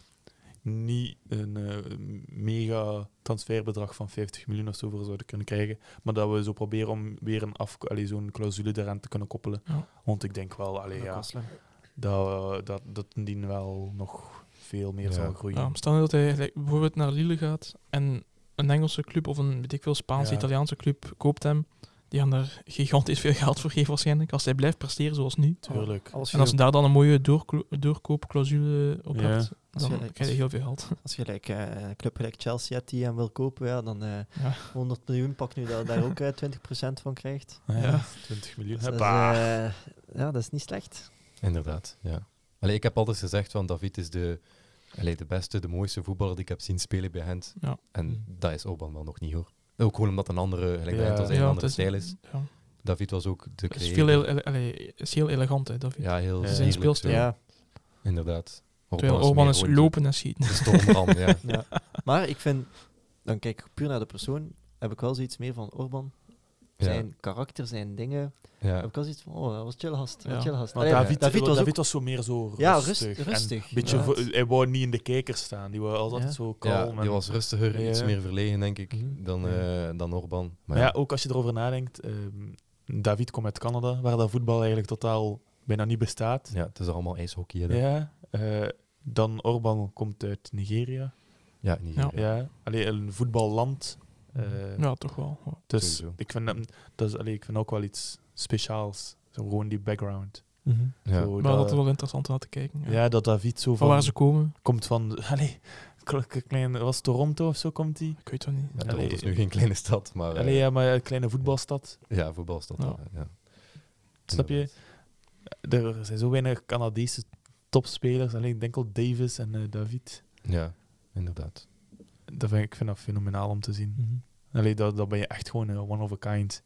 Speaker 3: niet een eh, mega transferbedrag van 50 miljoen of zo voor zouden kunnen krijgen. Maar dat we zo proberen om weer een af, allee, zo'n clausule daaraan te kunnen koppelen.
Speaker 1: Ja.
Speaker 3: Want ik denk wel allee,
Speaker 4: Dat
Speaker 3: ja,
Speaker 4: was slim.
Speaker 3: dat, eh, dat, dat indien wel nog veel meer
Speaker 2: Ja.
Speaker 3: zal groeien.
Speaker 1: Ja, stel nu dat hij like, bijvoorbeeld naar Lille gaat en een Engelse club of een weet ik veel, Spaanse,
Speaker 3: Ja.
Speaker 1: Italiaanse club koopt hem. Die gaan daar gigantisch veel geld voor geven waarschijnlijk. Als hij blijft presteren zoals nu.
Speaker 3: Tuurlijk.
Speaker 4: Als je,
Speaker 1: En als ze daar dan een mooie doorklo- doorkoopclausule op
Speaker 3: Ja.
Speaker 1: hebt,
Speaker 4: Als je
Speaker 1: dan
Speaker 4: lijkt.
Speaker 1: krijg je heel veel geld.
Speaker 4: als je like, eh, een club gelijk Chelsea hebt die hem wil kopen, ja, dan eh,
Speaker 1: Ja.
Speaker 4: 100 miljoen pak nu dat je daar ook eh, 20% van krijgt.
Speaker 1: Ja.
Speaker 3: 20 miljoen.
Speaker 4: Dus dat is,
Speaker 3: Hoppa.
Speaker 4: eh, ja, dat is niet slecht.
Speaker 2: Inderdaad, ja. Allee, ik heb altijd gezegd van David is de, allee, de beste, de mooiste voetballer die ik heb zien spelen bij Gent.
Speaker 1: Ja.
Speaker 2: En dat is Orban wel nog niet hoor. Ook gewoon omdat een andere, gelijk bij
Speaker 3: Ja.
Speaker 2: Gent als hij
Speaker 1: Ja,
Speaker 2: een
Speaker 1: het
Speaker 2: andere
Speaker 1: is-
Speaker 2: stijl is.
Speaker 1: Ja.
Speaker 2: David was ook de
Speaker 1: Het is, veel
Speaker 2: creator.
Speaker 1: ele- ele- allee, is heel elegant, hè, David.
Speaker 2: Ja, heel
Speaker 3: Ja.
Speaker 2: ja.
Speaker 1: Zijn speelstijl.
Speaker 2: Ja.
Speaker 4: Ja,
Speaker 2: Inderdaad.
Speaker 1: Terwijl Orban is
Speaker 2: meer
Speaker 1: lopen en schieten.
Speaker 2: rond- De stormram,
Speaker 3: <laughs>
Speaker 2: ja.
Speaker 4: ja. Maar ik vind, dan kijk ik puur naar de persoon, heb ik wel zoiets meer van Orban.
Speaker 2: ja.
Speaker 4: Zijn karakter, zijn dingen.
Speaker 2: ja.
Speaker 4: Heb ik wel zoiets van, oh, dat was chill gast. dat was
Speaker 1: Ja.
Speaker 4: chill gast.
Speaker 3: Maar
Speaker 4: Allee,
Speaker 3: David, David, was,
Speaker 4: was ook...
Speaker 3: zo meer zo
Speaker 4: Ja,
Speaker 3: rustig.
Speaker 4: rust-
Speaker 3: en
Speaker 4: rustig,
Speaker 3: een beetje
Speaker 4: inderdaad.
Speaker 3: voor- hij wou niet in de kijker staan. Die wou altijd
Speaker 4: Ja.
Speaker 3: zo
Speaker 2: Ja,
Speaker 3: kalm. en-
Speaker 2: die was rustiger,
Speaker 3: Ja.
Speaker 2: iets meer verlegen, denk ik,
Speaker 4: Mhm.
Speaker 2: dan, eh, dan Orban.
Speaker 3: Maar ja, ook als je erover nadenkt. ehm, David komt uit Canada, waar dat voetbal eigenlijk totaal bijna niet bestaat.
Speaker 2: ja, het is allemaal ijshockey. hè,
Speaker 3: Ja.
Speaker 2: dat- Ja,
Speaker 3: eh, dan Orban komt uit Nigeria.
Speaker 2: in
Speaker 1: Ja.
Speaker 2: Nigeria.
Speaker 3: Ja. Allee, een voetballand. eh,
Speaker 1: Ja, toch wel.
Speaker 3: dus
Speaker 2: sowieso.
Speaker 3: ik vind, hem- dat is, allee, ik vind ook wel iets speciaals. Zo, gewoon die background.
Speaker 4: Mhm.
Speaker 2: Ja.
Speaker 3: Zo,
Speaker 1: Maar dat is wel interessant om naar te kijken. Ja.
Speaker 3: ja, dat David zo
Speaker 1: Van
Speaker 3: van,
Speaker 1: waar ze komen,
Speaker 3: komt van... Allee, <laughs> kle- kle- klein, was het Toronto of zo komt hij?
Speaker 1: ik weet het niet.
Speaker 2: Ja,
Speaker 3: Allee.
Speaker 2: Toronto is nu geen kleine stad, maar eh,
Speaker 3: Allee, ja, maar een kleine voetbalstad.
Speaker 2: ja, voetbalstad.
Speaker 1: Ja.
Speaker 2: Ja. Ja.
Speaker 3: Snap je?
Speaker 2: Inderdaad.
Speaker 3: Er zijn zo weinig Canadese topspelers. Alleen ik denk al Davis en eh, David.
Speaker 2: Ja, inderdaad.
Speaker 3: Dat vind ik, ik vind dat fenomenaal om te zien.
Speaker 1: Hm.
Speaker 3: Allee, dat, dat ben je echt gewoon eh, one of a kind.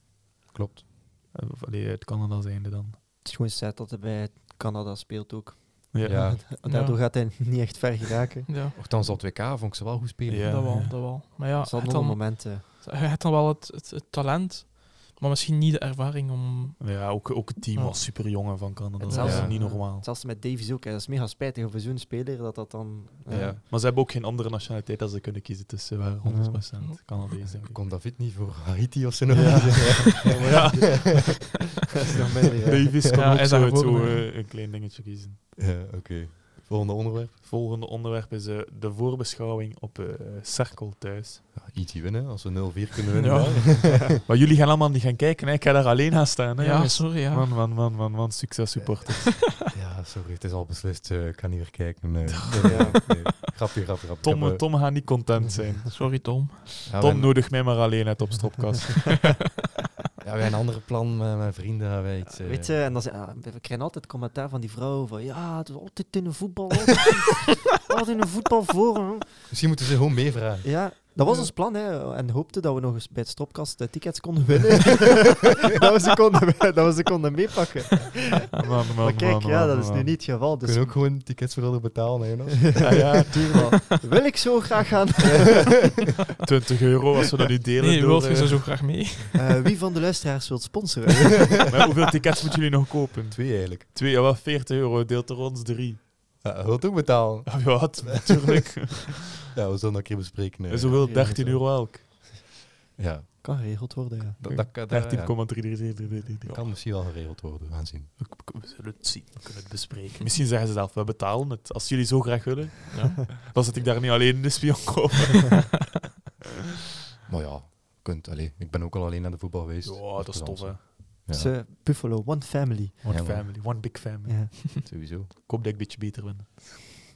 Speaker 2: Klopt.
Speaker 3: Eh, of, Allee, uit Canada zijnde dan.
Speaker 4: Het is gewoon sad dat hij bij Canada speelt ook.
Speaker 3: Ja.
Speaker 2: Ja.
Speaker 4: Daardoor gaat hij <laughs> niet echt ver geraken.
Speaker 1: Ja,
Speaker 2: Althans, op 2K vond ik ze wel goed spelen.
Speaker 3: Ja.
Speaker 1: dat wel, dat wel. Maar ja,
Speaker 4: Het zal
Speaker 1: hij
Speaker 4: nog
Speaker 1: dan-
Speaker 4: een moment... eh,
Speaker 1: hij had dan wel het, het, het talent, maar misschien niet de ervaring om...
Speaker 3: Ja, ook, ook het team
Speaker 1: Ja.
Speaker 3: was super jongen van Canada.
Speaker 4: En
Speaker 3: Dat
Speaker 2: zelfs-
Speaker 3: is niet normaal.
Speaker 4: zelfs met Davies ook. Hè. Dat is mega spijtig voor zo'n speler dat dat dan... eh,
Speaker 2: Ja.
Speaker 3: Maar ze hebben ook geen andere nationaliteit dat ze kunnen kiezen. Dus ze waren 100% Canadees. denk ik.
Speaker 2: Komt David niet voor Haiti of zo? nog?
Speaker 3: Ja.
Speaker 4: <laughs>
Speaker 3: Ja.
Speaker 2: <laughs>
Speaker 4: dat is nog
Speaker 3: <laughs>
Speaker 4: minder, ja.
Speaker 3: Davis kan
Speaker 1: Ja,
Speaker 3: ook
Speaker 1: hij is
Speaker 3: zo,
Speaker 1: daarvoor,
Speaker 3: zo,
Speaker 1: hè.
Speaker 3: eh, een klein dingetje kiezen.
Speaker 2: Ja, oké. Volgende onderwerp.
Speaker 3: Volgende onderwerp is eh, de voorbeschouwing op eh Cirkel thuis.
Speaker 2: Ja, IT winnen, als we 0-4 kunnen winnen.
Speaker 1: Ja.
Speaker 2: hè.
Speaker 3: <laughs> Maar jullie gaan allemaal niet gaan kijken, hè? ik ga daar alleen aan staan. Hè,
Speaker 1: Ja,
Speaker 3: jongens.
Speaker 1: sorry, ja.
Speaker 3: Man, man, man, man, man, succes supporters.
Speaker 2: ja, sorry, het is al beslist. eh, ik kan niet meer kijken. Nee.
Speaker 4: Ja.
Speaker 2: Nee. Grapje, grapje, grapje. Ik
Speaker 3: Tom,
Speaker 2: heb, eh,
Speaker 3: Tom gaat niet content zijn.
Speaker 1: Sorry, Tom.
Speaker 2: ja,
Speaker 3: Tom,
Speaker 2: wij,
Speaker 3: nodig mij maar alleen uit op stropkast.
Speaker 2: ja, wij een ander plan met mijn vrienden. Hebben wij iets, eh,
Speaker 4: Weet
Speaker 3: <laughs>
Speaker 4: je, en dan, ze- ah, we krijgen altijd commentaar van die vrouw van ja, het is altijd in de voetbal. altijd in- altijd een voetbal voor. hè.
Speaker 2: Misschien moeten ze gewoon meevragen.
Speaker 4: Ja, dat was ons plan, hè. En hoopte dat we nog eens bij het stropkast de tickets konden
Speaker 2: <laughs>
Speaker 4: winnen. <laughs> dat, we ze konden, dat we ze konden meepakken. Maar kijk, ja, dat is nu niet het geval.
Speaker 2: We
Speaker 4: Dus
Speaker 2: kunnen ook gewoon tickets voor anderen betalen, hè, Jonas?
Speaker 4: ja, ja, tuurlijk. Wil ik zo graag gaan.
Speaker 3: 20 euro als we dat nu delen.
Speaker 1: Nee,
Speaker 3: door,
Speaker 1: Wilfried
Speaker 3: eh,
Speaker 1: is er zo graag mee.
Speaker 4: <laughs>
Speaker 1: <laughs>
Speaker 4: Eh, wie van de luisteraars wilt sponsoren?
Speaker 3: maar hoeveel tickets moeten jullie nog kopen?
Speaker 2: Twee eigenlijk.
Speaker 3: Twee, ja, wel 40 euro deelt er ons drie.
Speaker 2: Ja, wil het ook betalen?
Speaker 3: Ja, wat? Natuurlijk.
Speaker 2: Ja, we zullen dat een keer bespreken. hè.
Speaker 3: En zoveel
Speaker 4: Ja,
Speaker 3: 13
Speaker 4: zo.
Speaker 3: euro elk.
Speaker 2: Ja,
Speaker 4: Kan geregeld worden, ja.
Speaker 2: dat, dat, dat, ja,
Speaker 3: 13,333.
Speaker 2: kan misschien wel geregeld worden. We gaan zien.
Speaker 3: We zullen het zien, we kunnen het bespreken. Misschien zeggen ze zelf, we betalen het. Als jullie zo graag willen, dan zit ik daar niet alleen in de spion komen.
Speaker 2: Maar ja, kunt. Allee, ik ben ook al alleen naar de voetbal geweest.
Speaker 3: Ja, dat is tof, hè.
Speaker 2: Ja,
Speaker 4: Dus, eh, Buffalo, one family.
Speaker 3: One
Speaker 2: Ja, maar-
Speaker 3: family, one big family.
Speaker 4: Ja.
Speaker 2: sowieso.
Speaker 3: Ik hoop dat ik een beetje beter ben.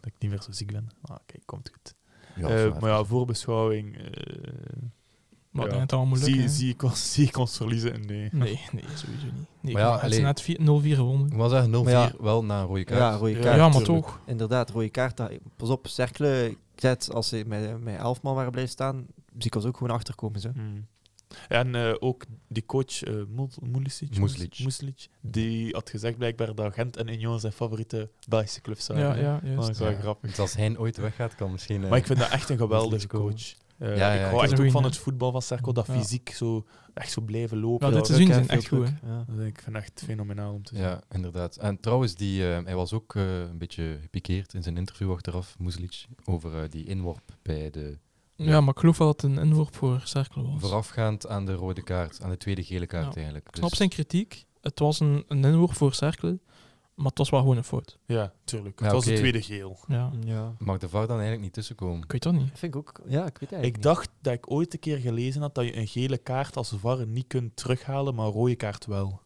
Speaker 3: Dat ik niet meer zo ziek ben. Ah, kijk, komt goed.
Speaker 2: Ja,
Speaker 3: Eh,
Speaker 2: zwaar.
Speaker 3: maar ja, voorbeschouwing. eh,
Speaker 1: Maar
Speaker 3: ja.
Speaker 1: dan het allemaal moeilijk.
Speaker 3: zie,
Speaker 1: hè.
Speaker 3: zie, ik ons, <laughs> zie ik ons verliezen? Nee.
Speaker 1: Nee, nee, sowieso niet. Nee,
Speaker 2: Maar ja,
Speaker 1: het is
Speaker 2: allee.
Speaker 1: net 4- 0-4 gewonnen.
Speaker 2: Ik wil zeggen 0-4
Speaker 4: Maar
Speaker 2: wel na een rode kaart.
Speaker 4: Ja, rode
Speaker 1: Ja,
Speaker 4: kaart.
Speaker 3: Ja,
Speaker 1: maar
Speaker 3: tuurlijk.
Speaker 1: toch.
Speaker 4: Inderdaad, rode kaart. dat- Pas op, cerkelen. Ik zei het, als ze met, met elf man waren blijven staan, zie ik ons ook gewoon achterkomen. Zo.
Speaker 3: Hmm. En eh, ook die coach eh Mul- Mulicic,
Speaker 2: Muslic.
Speaker 3: Muslic, die had gezegd blijkbaar dat Gent en Union zijn favoriete Belgische clubs zijn.
Speaker 1: Ja, ja, juist.
Speaker 3: dat is wel
Speaker 2: Ja.
Speaker 3: grappig.
Speaker 2: Dus als hij ooit weggaat, kan misschien... eh,
Speaker 3: Maar ik vind dat
Speaker 2: <laughs>
Speaker 3: echt een geweldige
Speaker 2: Muslic ook.
Speaker 3: coach. Eh,
Speaker 2: ja,
Speaker 3: ik
Speaker 2: ik
Speaker 3: hou
Speaker 1: vind
Speaker 3: echt
Speaker 1: het
Speaker 3: ook
Speaker 1: goed,
Speaker 3: van
Speaker 1: hè.
Speaker 3: het voetbal van Cerco, dat
Speaker 1: Ja.
Speaker 3: fysiek zo, echt zo blijven lopen.
Speaker 1: Ja,
Speaker 3: dat-
Speaker 1: dit seizoen
Speaker 4: Ook, hè,
Speaker 1: zijn echt
Speaker 4: veel
Speaker 1: goed,
Speaker 4: druk, ja.
Speaker 3: dat- ik vind dat echt fenomenaal om te zien.
Speaker 2: Ja, inderdaad. En trouwens, die, eh, hij was ook eh, een beetje gepikeerd in zijn interview achteraf, Muslic, over eh, die inworp bij de...
Speaker 1: Ja, maar ik geloof wel dat het een inworp voor Cerkel was.
Speaker 2: Voorafgaand aan de rode kaart, aan de tweede gele kaart
Speaker 1: Ja.
Speaker 2: eigenlijk. Dus-
Speaker 1: Ik snap zijn kritiek. Het was een, een inworp voor Cerkel, maar het was wel gewoon een fout.
Speaker 3: Ja, tuurlijk.
Speaker 2: Ja,
Speaker 3: het was
Speaker 2: oké.
Speaker 3: de tweede geel.
Speaker 1: Ja.
Speaker 4: Ja.
Speaker 2: Mag de VAR dan eigenlijk niet tussenkomen?
Speaker 1: Ik weet dat niet.
Speaker 4: Dat vind ik ook... Ja, ik weet het eigenlijk
Speaker 3: Ik
Speaker 4: niet.
Speaker 3: dacht dat ik ooit een keer gelezen had dat je een gele kaart als VAR niet kunt terughalen, maar een rode kaart wel.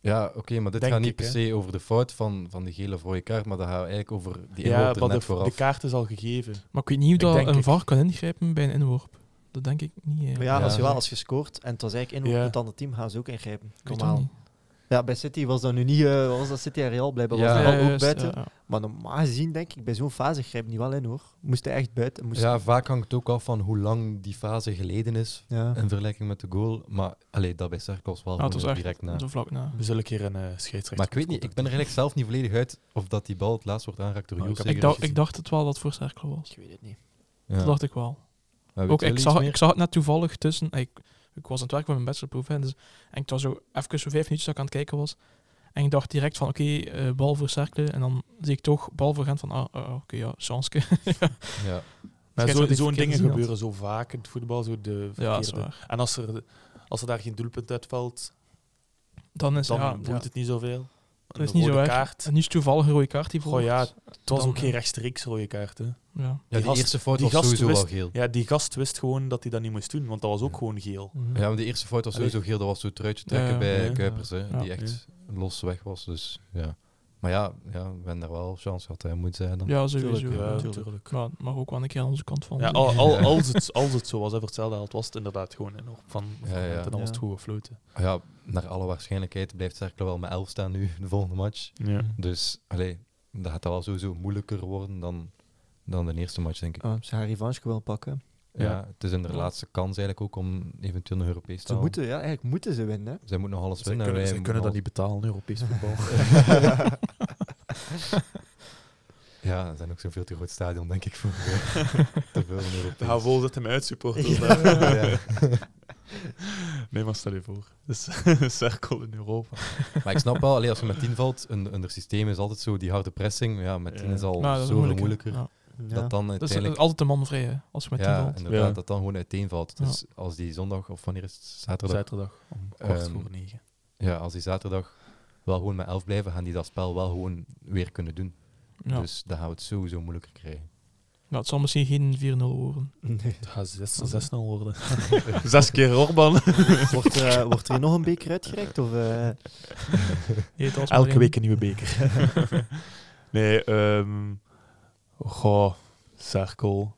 Speaker 2: Ja, oké, maar dit
Speaker 3: Denk
Speaker 2: gaat niet
Speaker 3: ik,
Speaker 2: per
Speaker 3: hè.
Speaker 2: se over de fout van, van de gele of rode kaart, maar dat gaat eigenlijk over die
Speaker 3: ja,
Speaker 2: inworp er
Speaker 3: maar
Speaker 2: net
Speaker 3: de, de
Speaker 2: vooraf.
Speaker 3: kaart is al gegeven.
Speaker 1: Maar ik weet niet hoe
Speaker 3: Ik
Speaker 1: dat
Speaker 3: denk
Speaker 1: een
Speaker 3: ik.
Speaker 1: VAR kan ingrijpen bij een inworp. Dat denk ik niet.
Speaker 4: Maar
Speaker 1: eigenlijk.
Speaker 4: ja, als je
Speaker 2: Ja.
Speaker 4: wel als je scoort en het was eigenlijk in
Speaker 3: Ja.
Speaker 4: op het andere team, gaan ze ook ingrijpen.
Speaker 1: Ik weet dat
Speaker 4: Normaal.
Speaker 1: niet.
Speaker 4: Ja, bij City was dat nu niet... eh, wat was dat City en Real? Blijkbaar was
Speaker 2: Ja,
Speaker 4: de
Speaker 1: Ja,
Speaker 4: bal ook
Speaker 1: juist,
Speaker 4: buiten.
Speaker 1: ja, ja.
Speaker 4: Maar normaal gezien denk ik, bij zo'n fase grijp niet wel in hoor. Moest hij echt buiten. Moest
Speaker 2: Ja, vaak hangt het ook af van hoe lang die fase geleden is
Speaker 4: Ja.
Speaker 2: in vergelijking met de goal. Maar allee, dat bij Cercos wel
Speaker 1: Ja,
Speaker 2: gewoon
Speaker 1: het was
Speaker 2: zo
Speaker 1: echt
Speaker 2: direct na.
Speaker 1: Zo vlak na.
Speaker 3: We zullen een keer een eh, scheidsrechter.
Speaker 2: Maar ik weet niet, ik ben er eigenlijk zelf niet volledig uit of dat die bal het laatst wordt aangeraakt door
Speaker 3: Nou, ik
Speaker 2: Jules.
Speaker 3: heb-
Speaker 1: Ik dacht, ik dacht het wel dat het voor Cerkel was.
Speaker 4: Ik weet het niet.
Speaker 1: Dat dacht ik wel. Ook, ik, zag, ik zag het net toevallig tussen. Ik, ik was aan het werk met mijn bachelorproef. hè, Dus, en ik was zo even zo vijf minuutjes dat ik aan het kijken was. En ik dacht direct van oké, eh, bal voor Cerkelen. En dan zie ik toch bal voor Gent van ah, ah, oké, ja, chanske.
Speaker 2: Ja.
Speaker 3: Maar zo-
Speaker 1: scheidsrechter
Speaker 3: Zo'n
Speaker 1: die verkeerd
Speaker 3: dingen
Speaker 1: gezien had.
Speaker 3: gebeuren zo vaak in het voetbal. Zo de
Speaker 1: ja, dat is
Speaker 3: verkeerde.
Speaker 1: waar.
Speaker 3: en als er, als er daar geen doelpunt uitvalt,
Speaker 1: <laughs> Dan is
Speaker 3: dan
Speaker 1: Dus ja,
Speaker 3: moet
Speaker 1: ja,
Speaker 3: het niet zoveel.
Speaker 1: dat is niet zo
Speaker 3: rode
Speaker 1: erg.
Speaker 3: kaart.
Speaker 1: En nu is het toevallig een rode kaart die
Speaker 3: Goh,
Speaker 1: volgt.
Speaker 3: ja, het was
Speaker 1: Dan,
Speaker 3: ook geen
Speaker 1: ja.
Speaker 3: rechtstreeks rode kaart. Hè.
Speaker 1: ja.
Speaker 2: Ja, die,
Speaker 3: gast-
Speaker 2: eerste fout
Speaker 3: die
Speaker 2: was
Speaker 3: gast
Speaker 2: sowieso
Speaker 3: wist-
Speaker 2: wel geel.
Speaker 3: Ja, die gast wist gewoon dat hij dat niet moest doen, want dat was ook gewoon geel.
Speaker 1: Mhm.
Speaker 2: Ja, maar de eerste fout was sowieso geel. Dat was zo'n truitje trekken
Speaker 1: Ja,
Speaker 2: bij
Speaker 3: ja,
Speaker 2: Kuipers, hè,
Speaker 1: ja.
Speaker 2: die echt los weg was. Dus, ja. Maar ja, ja, we hebben daar wel chance gehad, hè, moet zijn dan.
Speaker 1: Ja, sowieso.
Speaker 4: Tuurlijk,
Speaker 1: ja.
Speaker 3: Ja,
Speaker 4: tuurlijk.
Speaker 3: natuurlijk.
Speaker 1: Maar, maar ook wel een keer aan onze kant van.
Speaker 3: Ja, al, al- als, het, als het zo was, hè, voor hetzelfde geld was het inderdaad gewoon een hoop van, van
Speaker 2: Ja, ja.
Speaker 3: Gent en dan was het
Speaker 4: Ja.
Speaker 3: goed gefloten.
Speaker 2: Ja, naar alle waarschijnlijkheid blijft Cercle wel met 11 staan nu, <laughs> de volgende match. Dus, allee, dat gaat wel sowieso moeilijker worden dan, dan de eerste match, denk ik.
Speaker 4: Oh, ze gaan revanche wel pakken.
Speaker 2: Ja,
Speaker 3: Ja.
Speaker 2: het is in de
Speaker 1: Ja.
Speaker 2: laatste kans eigenlijk ook om eventueel een Europees te
Speaker 4: Ze
Speaker 2: halen.
Speaker 4: moeten, ja, eigenlijk moeten ze winnen. hè.
Speaker 2: Zij moeten nog alles
Speaker 3: Ze
Speaker 2: winnen. en
Speaker 3: kunnen,
Speaker 2: wij
Speaker 3: zij kunnen dat
Speaker 2: moeten
Speaker 3: niet betalen, <laughs> Europees voetbal.
Speaker 2: alles- Ja, er zijn ook zo'n veel te groot stadion, denk ik, voor eh, te veel in Europees.
Speaker 3: Ja, vol zet hem uit, supporters.
Speaker 2: Ja.
Speaker 3: Nee, maar stel je voor. Dus cirkel in Europa.
Speaker 2: Maar ik snap wel, allee, als je met 10 valt, een, een systeem is altijd zo die harde pressing. Ja, met 10 is
Speaker 3: Ja.
Speaker 2: al
Speaker 1: Maar Nou, dat is
Speaker 2: oh, zoveel
Speaker 1: moeilijker.
Speaker 2: moeilijker.
Speaker 1: Ja.
Speaker 4: Ja.
Speaker 2: Dat dan
Speaker 1: Dat is
Speaker 2: uiteindelijk...
Speaker 1: altijd een man vrij, hè, als je met die
Speaker 2: ja,
Speaker 1: valt.
Speaker 2: inderdaad,
Speaker 3: Ja.
Speaker 2: dat dan gewoon uiteenvalt.
Speaker 1: Ja.
Speaker 2: Dus als die zondag, of wanneer is het? Zaterdag?
Speaker 3: Zaterdag om kwart
Speaker 2: Ehm,
Speaker 3: voor negen.
Speaker 2: Ja, als die zaterdag wel gewoon met 11 blijven, gaan die dat spel wel gewoon weer kunnen doen.
Speaker 1: Ja.
Speaker 2: Dus dan gaan we het sowieso moeilijker krijgen.
Speaker 1: Nou, het zal misschien geen 4-0 worden.
Speaker 4: Nee.
Speaker 3: Het gaat 6-0
Speaker 2: <laughs>
Speaker 3: worden. Zes keer Orban.
Speaker 4: Wordt, eh, wordt er nog een beker uitgereikt? Of, eh,
Speaker 1: Nee, het was maar
Speaker 3: Elke
Speaker 1: één.
Speaker 3: week een nieuwe beker.
Speaker 2: <laughs>
Speaker 3: nee, ehm goh, cirkel.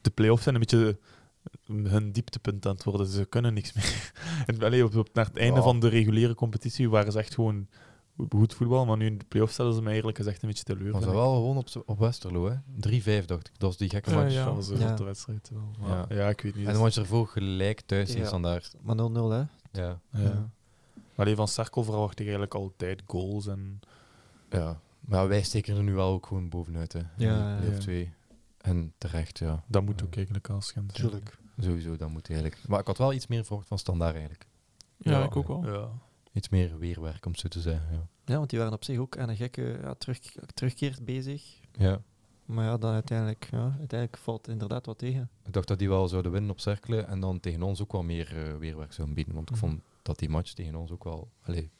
Speaker 3: De play-offs zijn een beetje hun dieptepunt aan het worden. <laughs> Ze kunnen niks meer. En, allee, op, op- naar het einde
Speaker 2: Ja.
Speaker 3: van de reguliere competitie waren ze echt gewoon goed voetbal, maar nu in de play-offs stellen ze mij eerlijk gezegd een beetje teleur.
Speaker 2: Was dat
Speaker 3: vind ik.
Speaker 2: wel gewoon op, op Westerlo, hè? 3-5 dacht ik. Dat was die gekke
Speaker 1: Ja,
Speaker 2: match.
Speaker 3: Dat was een
Speaker 4: Ja.
Speaker 3: zotte wedstrijd wel. Maar, ja.
Speaker 2: Ja.
Speaker 3: ik weet niet. dus-
Speaker 2: En dan was je ervoor gelijk thuis
Speaker 4: Ja.
Speaker 2: in Standaard.
Speaker 4: Maar 0-0, hè?
Speaker 2: Ja.
Speaker 3: ja.
Speaker 4: Ja.
Speaker 3: Maar die van Cerkel verwacht ik eigenlijk altijd goals. En...
Speaker 2: ja. Maar wij steken er nu wel ook gewoon bovenuit, hè? In die
Speaker 4: Ja,
Speaker 2: play-off
Speaker 3: ja.
Speaker 2: twee. En terecht, ja.
Speaker 3: Dat moet
Speaker 2: Ja.
Speaker 3: ook eigenlijk al schend zijn.
Speaker 4: Tuurlijk.
Speaker 2: Sowieso, dat moet eigenlijk. Maar ik had wel iets meer verwacht van Standaard eigenlijk.
Speaker 1: Ja,
Speaker 3: Ja.
Speaker 1: ik ook
Speaker 2: <laughs>
Speaker 1: wel.
Speaker 3: Ja.
Speaker 2: Iets meer weerwerk, om het zo te zeggen. Ja.
Speaker 4: Ja, want die waren op zich ook aan een gekke ja, terug, terugkeer bezig.
Speaker 2: ja.
Speaker 4: Maar ja, dan uiteindelijk, ja, uiteindelijk valt inderdaad wat tegen.
Speaker 2: Ik dacht dat die wel zouden winnen op cirkelen en dan tegen ons ook wel meer eh, weerwerk zouden bieden. Want ik
Speaker 3: Mhm.
Speaker 2: vond dat die match tegen ons ook wel allee,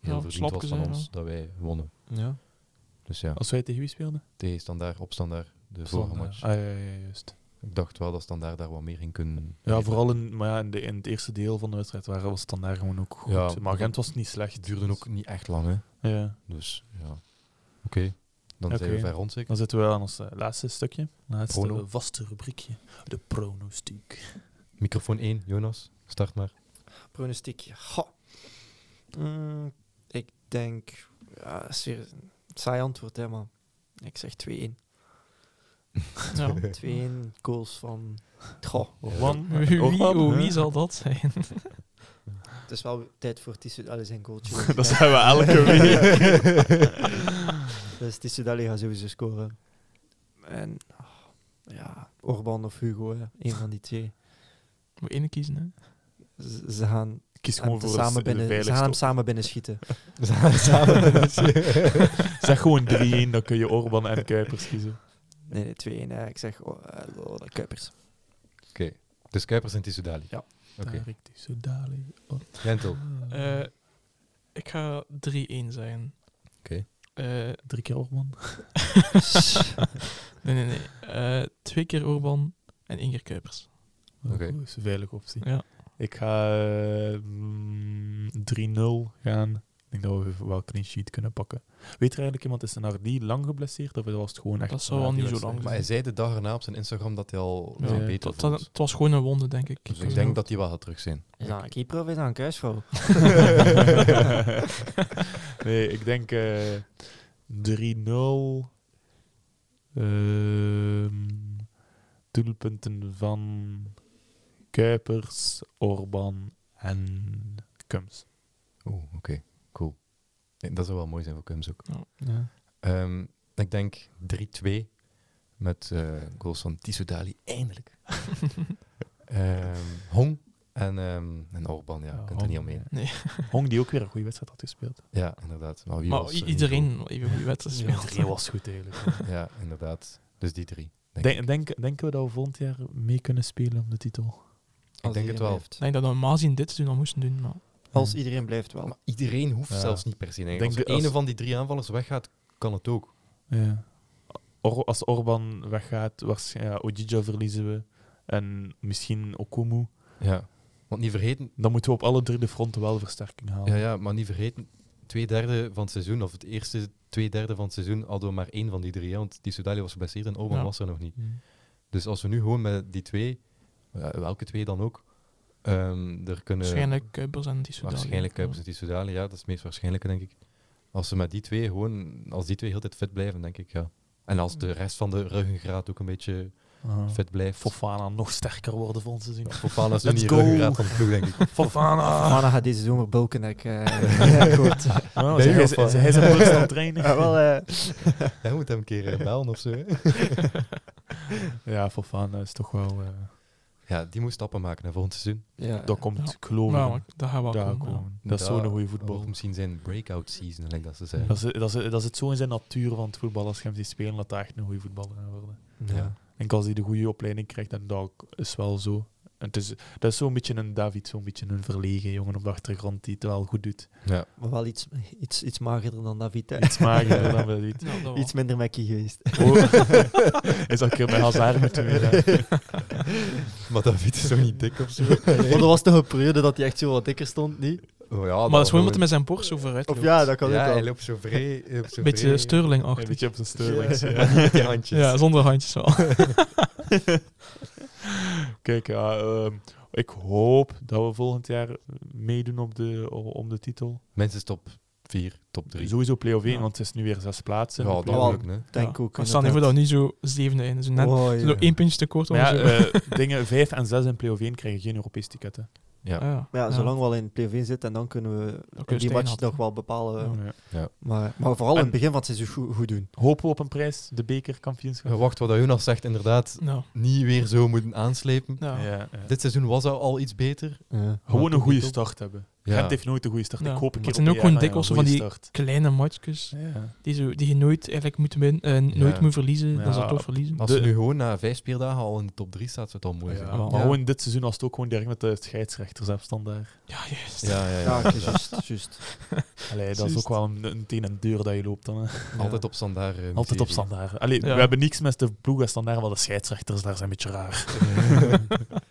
Speaker 2: heel
Speaker 1: Ja,
Speaker 2: verdiend was
Speaker 1: slapjes,
Speaker 2: van
Speaker 1: hè,
Speaker 2: ons
Speaker 1: ja.
Speaker 2: dat wij wonnen.
Speaker 4: Ja.
Speaker 2: Dus ja,
Speaker 3: Als wij tegen wie speelden?
Speaker 2: tegen standaard, op standaard, de vorige match.
Speaker 3: Ah, ja, ja, juist.
Speaker 2: Ik dacht wel dat standaard daar wat meer in kunnen.
Speaker 3: Ja,
Speaker 2: leveren.
Speaker 3: vooral in, maar ja, in, de, in het eerste deel van de wedstrijd waren, was het dan daar gewoon ook goed.
Speaker 2: Ja,
Speaker 3: maar Gent was niet slecht. Dus-
Speaker 2: Het duurde ook niet echt lang, hè.
Speaker 3: Ja.
Speaker 2: Dus ja, oké. Dan zijn we
Speaker 3: Oké.
Speaker 2: ver rond, zeker.
Speaker 3: Dan zitten we aan ons eh, laatste stukje. Laatste
Speaker 2: Prono.
Speaker 3: vaste rubriekje. De pronostiek.
Speaker 2: Microfoon 1, Jonas, start maar.
Speaker 4: Pronostiek. Ha. Mm, ik denk, ja, dat is weer een saai antwoord, hè, maar ik zeg 2-1.
Speaker 1: Ja. <laughs>
Speaker 4: 2-1 goals van. Goh,
Speaker 3: One.
Speaker 1: Wie, oh,
Speaker 3: One.
Speaker 1: wie zal dat zijn? <laughs>
Speaker 4: het is wel tijd voor Tissoudali zijn goaltje.
Speaker 3: <laughs> Dat zijn we elke week.
Speaker 4: <laughs> Dus Tissoudali gaat sowieso scoren. En ah, ja, Orban of Hugo, hè, een van die twee.
Speaker 1: Moet één kiezen, hè?
Speaker 4: Z- ze gaan,
Speaker 3: Kies
Speaker 4: hem,
Speaker 3: gewoon voor
Speaker 4: samen
Speaker 3: de,
Speaker 4: binnen, ze gaan hem
Speaker 3: veiligste.
Speaker 4: samen binnen schieten.
Speaker 2: Samen.
Speaker 3: <laughs> Zeg gewoon 3-1, dan kun je Orban en Kuipers kiezen.
Speaker 4: Nee, nee 2-1. hè. Ik zeg oh, eh, oh, de <laughs> Kuipers.
Speaker 2: Oké, dus Kuipers en Tissoudali.
Speaker 4: Ja.
Speaker 2: Oké,
Speaker 3: Tarik Tissoudali. Oh.
Speaker 2: Gentel.
Speaker 1: Eh, ik ga 3-1 zijn.
Speaker 2: Oké.
Speaker 1: Eh,
Speaker 3: Drie keer <laughs> Orban.
Speaker 1: nee, nee, nee. Eh, twee keer Orban en één keer Kuipers.
Speaker 2: Oké.
Speaker 3: Dat is een veilige
Speaker 1: <laughs>
Speaker 3: optie.
Speaker 1: Ja.
Speaker 3: Ik ga eh, mm, 3-0 gaan. Ik denk dat we wel clean sheet kunnen pakken. Weet er eigenlijk iemand, is Nardi lang geblesseerd? Of was het gewoon echt...
Speaker 1: Dat zou wel
Speaker 3: na die
Speaker 1: niet zo
Speaker 3: wedstrijd?
Speaker 1: lang
Speaker 2: Maar hij zei de dag erna op zijn Instagram dat hij al
Speaker 1: Ja.
Speaker 2: zich
Speaker 3: Ja.
Speaker 2: beter
Speaker 1: Dat, dat,
Speaker 2: voelt.
Speaker 1: het was gewoon een wonde, denk ik.
Speaker 2: Dus ik denk dat hij wel gaat terug zijn.
Speaker 4: Is dat een keeper of is dat een kuisvrouw?
Speaker 3: <laughs> nee, ik denk eh 3-0. Ehm, doelpunten van Kuipers, Orban en Kums.
Speaker 2: Oeh, oké, cool. Nee, dat zou wel mooi zijn voor Kums ook.
Speaker 4: Ja.
Speaker 2: Ehm, ik denk 3-2 met eh, goals van Tissoudali, eindelijk. Ehm, Hong en, ehm, en Orban, ja,
Speaker 3: Ja,
Speaker 2: kunt er niet
Speaker 3: Hong,
Speaker 2: omheen.
Speaker 4: <laughs>
Speaker 3: Hong die ook weer een goede wedstrijd had gespeeld.
Speaker 2: Ja, inderdaad. Maar, wie
Speaker 1: Maar
Speaker 2: was eh, er
Speaker 1: i-
Speaker 2: niet
Speaker 1: iedereen wel even goede wedstrijd
Speaker 3: Ja,
Speaker 1: speelt.
Speaker 3: iedereen was goed
Speaker 2: <laughs>
Speaker 3: eigenlijk.
Speaker 2: goed? Ja, inderdaad. Dus die drie. Denk
Speaker 3: Denk, denk, denken we dat we volgend jaar mee kunnen spelen om de titel?
Speaker 2: Ik denk het wel.
Speaker 1: Ik denk dat we Mazin dit doen dan moesten doen, maar
Speaker 4: Als iedereen blijft wel.
Speaker 2: Maar iedereen hoeft
Speaker 3: Ja.
Speaker 2: zelfs niet per se. Denk
Speaker 3: Denk
Speaker 2: als er
Speaker 3: je- als-
Speaker 2: ene van die drie aanvallers weggaat, kan het ook.
Speaker 3: Ja. Or- als Orban weggaat, waarsch- ja, Ojija verliezen we. En misschien Okumu.
Speaker 2: Ja. Want niet vergeten,
Speaker 3: Dan moeten we op alle drie de fronten wel versterking halen.
Speaker 2: ja, ja, maar niet vergeten, twee derde van het seizoen, of het eerste twee derde van het seizoen, hadden we maar één van die drie. hè, Want die Sudali was geblesseerd en Orban
Speaker 1: Ja.
Speaker 2: was er nog niet.
Speaker 3: Mm.
Speaker 2: Dus als we nu gewoon met die twee, eh, welke twee dan ook, ehm, er kunnen...
Speaker 1: waarschijnlijk Kuipers en die
Speaker 2: Waarschijnlijk Kuipers en Tissoudali, ja, dat is het meest waarschijnlijke, denk ik. Als ze met die twee gewoon, als die twee heel de tijd fit blijven, denk ik, ja. En als de rest van de ruggengraat ook een beetje
Speaker 3: Ah.
Speaker 2: fit blijft.
Speaker 3: Fofana nog sterker worden volgend
Speaker 4: <laughs>
Speaker 3: seizoen.
Speaker 2: Fofana is nu
Speaker 3: Let's
Speaker 2: niet
Speaker 3: go.
Speaker 2: ruggengraat van de ploeg, denk ik.
Speaker 3: Fofana!
Speaker 4: Mana gaat deze zomer bulken. Ik, eh, ja,
Speaker 3: <laughs>
Speaker 4: goed.
Speaker 3: Oh,
Speaker 2: Nee,
Speaker 3: hij, is,
Speaker 2: of, eh,
Speaker 3: hij is een personal trainer.
Speaker 4: <laughs> Ja, wel, eh,
Speaker 2: Hij moet hem een keer eh, bellen of zo. hè.
Speaker 3: Ja, Fofana is toch wel... eh,
Speaker 2: Ja, die moet stappen maken naar volgend seizoen.
Speaker 4: ja.
Speaker 3: dat komt,
Speaker 1: Ja.
Speaker 3: ik geloof ik.
Speaker 1: Ja, Nou, maar dat gaat wel
Speaker 3: Daar
Speaker 1: komen, ja.
Speaker 3: komen. Dat is zo'n goede
Speaker 2: Dat
Speaker 3: voetbal.
Speaker 2: wordt misschien zijn breakout season, denk ik dat ze zeggen.
Speaker 3: Dat, is, dat, is, dat zit zo in zijn natuur van het voetbal. Als je hem ziet spelen, dat hij echt een goede voetballer gaat worden.
Speaker 4: Ja.
Speaker 3: En als hij de goede opleiding krijgt, en dat is wel zo. En het is, dat is zo'n beetje een David, zo'n beetje een verlegen jongen op de achtergrond die het wel goed doet. <laughs>
Speaker 2: Ja.
Speaker 4: Maar wel iets, iets, iets magerder dan David. hè.
Speaker 3: Iets magerder
Speaker 4: <laughs>
Speaker 3: dan David.
Speaker 1: Ja, dat wel.
Speaker 4: Iets minder mekkie geweest.
Speaker 2: <laughs>
Speaker 3: Oh. Hij zou een keer bij Hazard moeten meegaan.
Speaker 2: Maar David is toch niet dik of zo?
Speaker 4: Want er was toch een periode dat hij echt zo wat dikker stond, niet?
Speaker 2: Oh, ja,
Speaker 1: maar dat is gewoon omdat hij met zijn borst zo vooruit
Speaker 4: Of
Speaker 1: loopt.
Speaker 4: ja, dat kan
Speaker 2: Ja,
Speaker 4: ook
Speaker 2: hij
Speaker 4: wel.
Speaker 2: loopt zo vrij. hij loopt zo
Speaker 1: Beetje
Speaker 2: vrij-
Speaker 3: Een
Speaker 1: Sterling-achtig.
Speaker 3: beetje op zijn steurlings.
Speaker 2: Ja, maar niet die handjes.
Speaker 1: Ja, zonder handjes wel.
Speaker 3: Kijk, ja, ehm, ik hoop dat we volgend jaar meedoen op de, om de titel.
Speaker 2: Mensen, stop. vier, top drie.
Speaker 3: Sowieso play-off 1,
Speaker 1: Ja.
Speaker 3: want het is nu weer zes plaatsen.
Speaker 2: ja, dat
Speaker 4: wel.
Speaker 2: lukt, hè.
Speaker 4: denk ook.
Speaker 1: Maar staan niet voor dat we niet zo zevende eindigen. Zo net
Speaker 4: Wow,
Speaker 1: zo
Speaker 4: ja.
Speaker 1: één puntje tekort. om
Speaker 3: Maar Oh, ja,
Speaker 1: zo-
Speaker 3: eh, <laughs> dingen 5 en 6 in play-off 1 krijgen geen Europees ticket. Hè.
Speaker 2: Ja.
Speaker 1: Ah, ja.
Speaker 4: Maar ja, zolang we al in play zitten, en dan kunnen we
Speaker 1: Dan kun je
Speaker 4: in die
Speaker 1: Stijn
Speaker 4: match
Speaker 1: hadden.
Speaker 4: nog wel bepalen.
Speaker 1: Oh, Ja.
Speaker 3: Ja.
Speaker 4: Maar, maar vooral in
Speaker 3: En-
Speaker 4: het begin van het seizoen goed, goed doen.
Speaker 3: Hopen we op een prijs, de bekerkampioenschap.
Speaker 2: Ja, Wacht, wat dat Jonas zegt, inderdaad,
Speaker 1: Nou,
Speaker 2: niet weer zo moeten aanslepen.
Speaker 1: nou.
Speaker 3: Ja, ja.
Speaker 2: Dit seizoen was al, al iets beter.
Speaker 3: Gewoon een
Speaker 2: toch
Speaker 3: goede
Speaker 2: niet op.
Speaker 3: start hebben.
Speaker 2: Ja.
Speaker 3: Gent heeft nooit een goede start.
Speaker 1: Ja.
Speaker 3: Ik hoop een
Speaker 1: Maar
Speaker 3: keer
Speaker 1: het zijn
Speaker 3: op
Speaker 1: ook
Speaker 3: een
Speaker 1: gewoon
Speaker 3: jaar
Speaker 1: dikwijls
Speaker 3: een
Speaker 1: zo van
Speaker 3: goede start.
Speaker 1: die- Kleine matchjes
Speaker 3: Ja.
Speaker 1: die, zo, die je nooit, eigenlijk moeten winnen, eh, nooit
Speaker 2: Ja.
Speaker 1: moet verliezen.
Speaker 3: Ja.
Speaker 1: Dan zou toch verliezen.
Speaker 2: Als
Speaker 3: De-
Speaker 2: ze nu gewoon na vijf speeldagen al in de top drie staat, zou het al mooi zijn.
Speaker 3: Ja, Maar
Speaker 1: Ja.
Speaker 3: gewoon dit seizoen was het ook gewoon direct met de scheidsrechtersafstand daar.
Speaker 1: Ja, juist.
Speaker 2: Ja, ja, ja,
Speaker 4: Ja, oké,
Speaker 2: inderdaad.
Speaker 4: juist. juist.
Speaker 3: Allee, dat is
Speaker 1: Juist.
Speaker 3: ook wel een, een teen en deur dat je loopt dan. Hè.
Speaker 2: Altijd op standaard. eh,
Speaker 3: Altijd op
Speaker 2: serie.
Speaker 3: standaard. Allee,
Speaker 1: Ja.
Speaker 3: we hebben niks met de ploeg als standaard, maar de scheidsrechters daar zijn een beetje raar.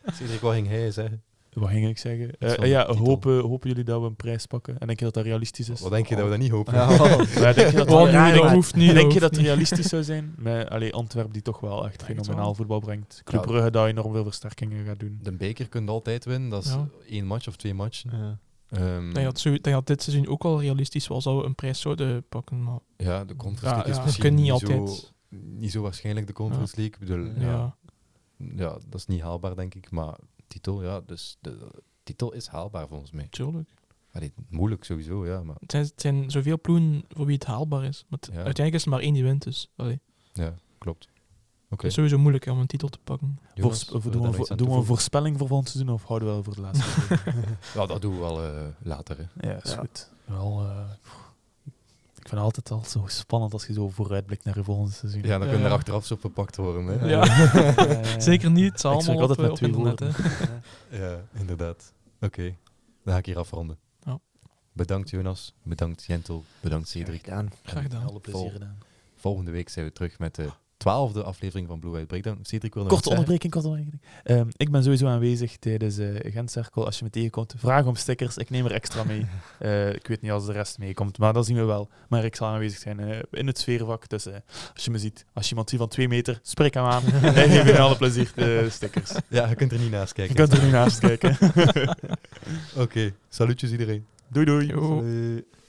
Speaker 2: Cedric, wat ging hij zeggen?
Speaker 3: Wat ging ik zeggen? Eh,
Speaker 2: is wel
Speaker 3: eh, ja,
Speaker 2: een titel.
Speaker 3: hopen, hopen jullie dat we een prijs pakken? En denk je dat dat realistisch is?
Speaker 2: Wat denk je dat we dat niet <laughs> hopen?
Speaker 4: Ja, wel.
Speaker 3: Ja, denk je dat
Speaker 1: Oh,
Speaker 3: dat-
Speaker 1: nu,
Speaker 3: Ja,
Speaker 1: dat
Speaker 3: maar-
Speaker 1: hoeft niet.
Speaker 3: Denk je
Speaker 1: hoeft
Speaker 3: dat het realistisch zou <laughs> zijn? Met allee, Antwerpen die toch wel echt
Speaker 1: Denk het
Speaker 3: fenomenaal
Speaker 1: wel.
Speaker 3: voetbal brengt. Club
Speaker 2: Ja.
Speaker 3: Brugge dat enorm veel versterkingen gaat doen.
Speaker 2: De beker kunt altijd winnen, dat is
Speaker 1: Ja.
Speaker 2: één match of twee matchen.
Speaker 4: Ja.
Speaker 2: Ehm,
Speaker 1: Ik denk dat, zo, ik denk dat dit seizoen ook wel realistisch was dat we een prijs zouden pakken. Maar
Speaker 2: ja, de Conference
Speaker 1: Ja,
Speaker 2: League
Speaker 1: ja.
Speaker 2: is misschien
Speaker 1: Kun je
Speaker 2: niet,
Speaker 1: niet
Speaker 2: zo,
Speaker 1: altijd.
Speaker 2: niet zo waarschijnlijk, de Conference League. Ik bedoel,
Speaker 1: ja.
Speaker 2: ja. Ja, dat is niet haalbaar, denk ik. Maar titel, ja, dus de titel is haalbaar volgens mij.
Speaker 1: tuurlijk.
Speaker 2: Allee, moeilijk sowieso, ja. Maar,
Speaker 1: Het zijn, het zijn zoveel ploegen voor wie het haalbaar is. Maar het-
Speaker 2: Ja.
Speaker 1: uiteindelijk is er maar één die wint. Dus allee,
Speaker 2: ja, klopt. Oké.
Speaker 1: het is sowieso moeilijk hè, om een titel te pakken.
Speaker 2: Jonas,
Speaker 3: Voors- of
Speaker 2: wil je
Speaker 3: doen
Speaker 2: daar
Speaker 3: we,
Speaker 2: nog
Speaker 3: vo-
Speaker 2: iets aan
Speaker 3: doen we een
Speaker 2: toevoegen?
Speaker 3: voorspelling voor volgend seizoen of houden we <laughs> wel voor de laatste?
Speaker 2: Ja, dat doen we wel eh, later. Hè.
Speaker 3: ja, is
Speaker 4: Ja.
Speaker 3: goed. Wel, eh, ik vind het altijd al zo spannend als je zo vooruitblikt naar je volgende seizoen.
Speaker 2: Ja, dan
Speaker 3: <laughs>
Speaker 1: Ja,
Speaker 2: kunnen
Speaker 1: ja.
Speaker 2: er achteraf zo verpakt worden. Hè.
Speaker 1: Ja.
Speaker 3: Ja.
Speaker 1: Zeker niet. Het zal
Speaker 3: Ik zeg
Speaker 1: allemaal op,
Speaker 3: altijd
Speaker 1: eh, op
Speaker 3: met twee
Speaker 1: internet. hè.
Speaker 3: <laughs>
Speaker 2: Ja, inderdaad. Oké, dan ga ik hier afronden.
Speaker 1: Ja.
Speaker 2: Bedankt Jonas, bedankt Jentel, bedankt Cedric.
Speaker 4: Gedaan.
Speaker 1: Graag gedaan.
Speaker 3: Alle plezier
Speaker 2: Vol.
Speaker 3: gedaan.
Speaker 2: Volgende week zijn we terug met de twaalfde aflevering van Blue White Breakdown. Cedric wil nog
Speaker 3: Korte
Speaker 2: iets zeggen?
Speaker 3: onderbreking, korte onderbreking. Ehm, ik ben sowieso aanwezig tijdens eh Gentcirkel. Als je me tegenkomt, vraag om stickers. Ik neem er extra mee. Eh, ik weet niet als de rest meekomt, maar dat zien we wel. Maar ik zal aanwezig zijn eh, in het sfeervak. Dus eh, als je me ziet, als je iemand ziet van twee meter, spreek hem
Speaker 2: <laughs>
Speaker 3: <laughs> aan. en geef hem alle plezier <laughs> de stickers.
Speaker 2: eh, Ja, je kunt er niet naast
Speaker 3: Je
Speaker 2: kijken.
Speaker 3: kunt er nu naast kijken.
Speaker 2: <laughs> Oké, salutjes iedereen.
Speaker 3: doei doei.
Speaker 1: Yo.
Speaker 4: Salut.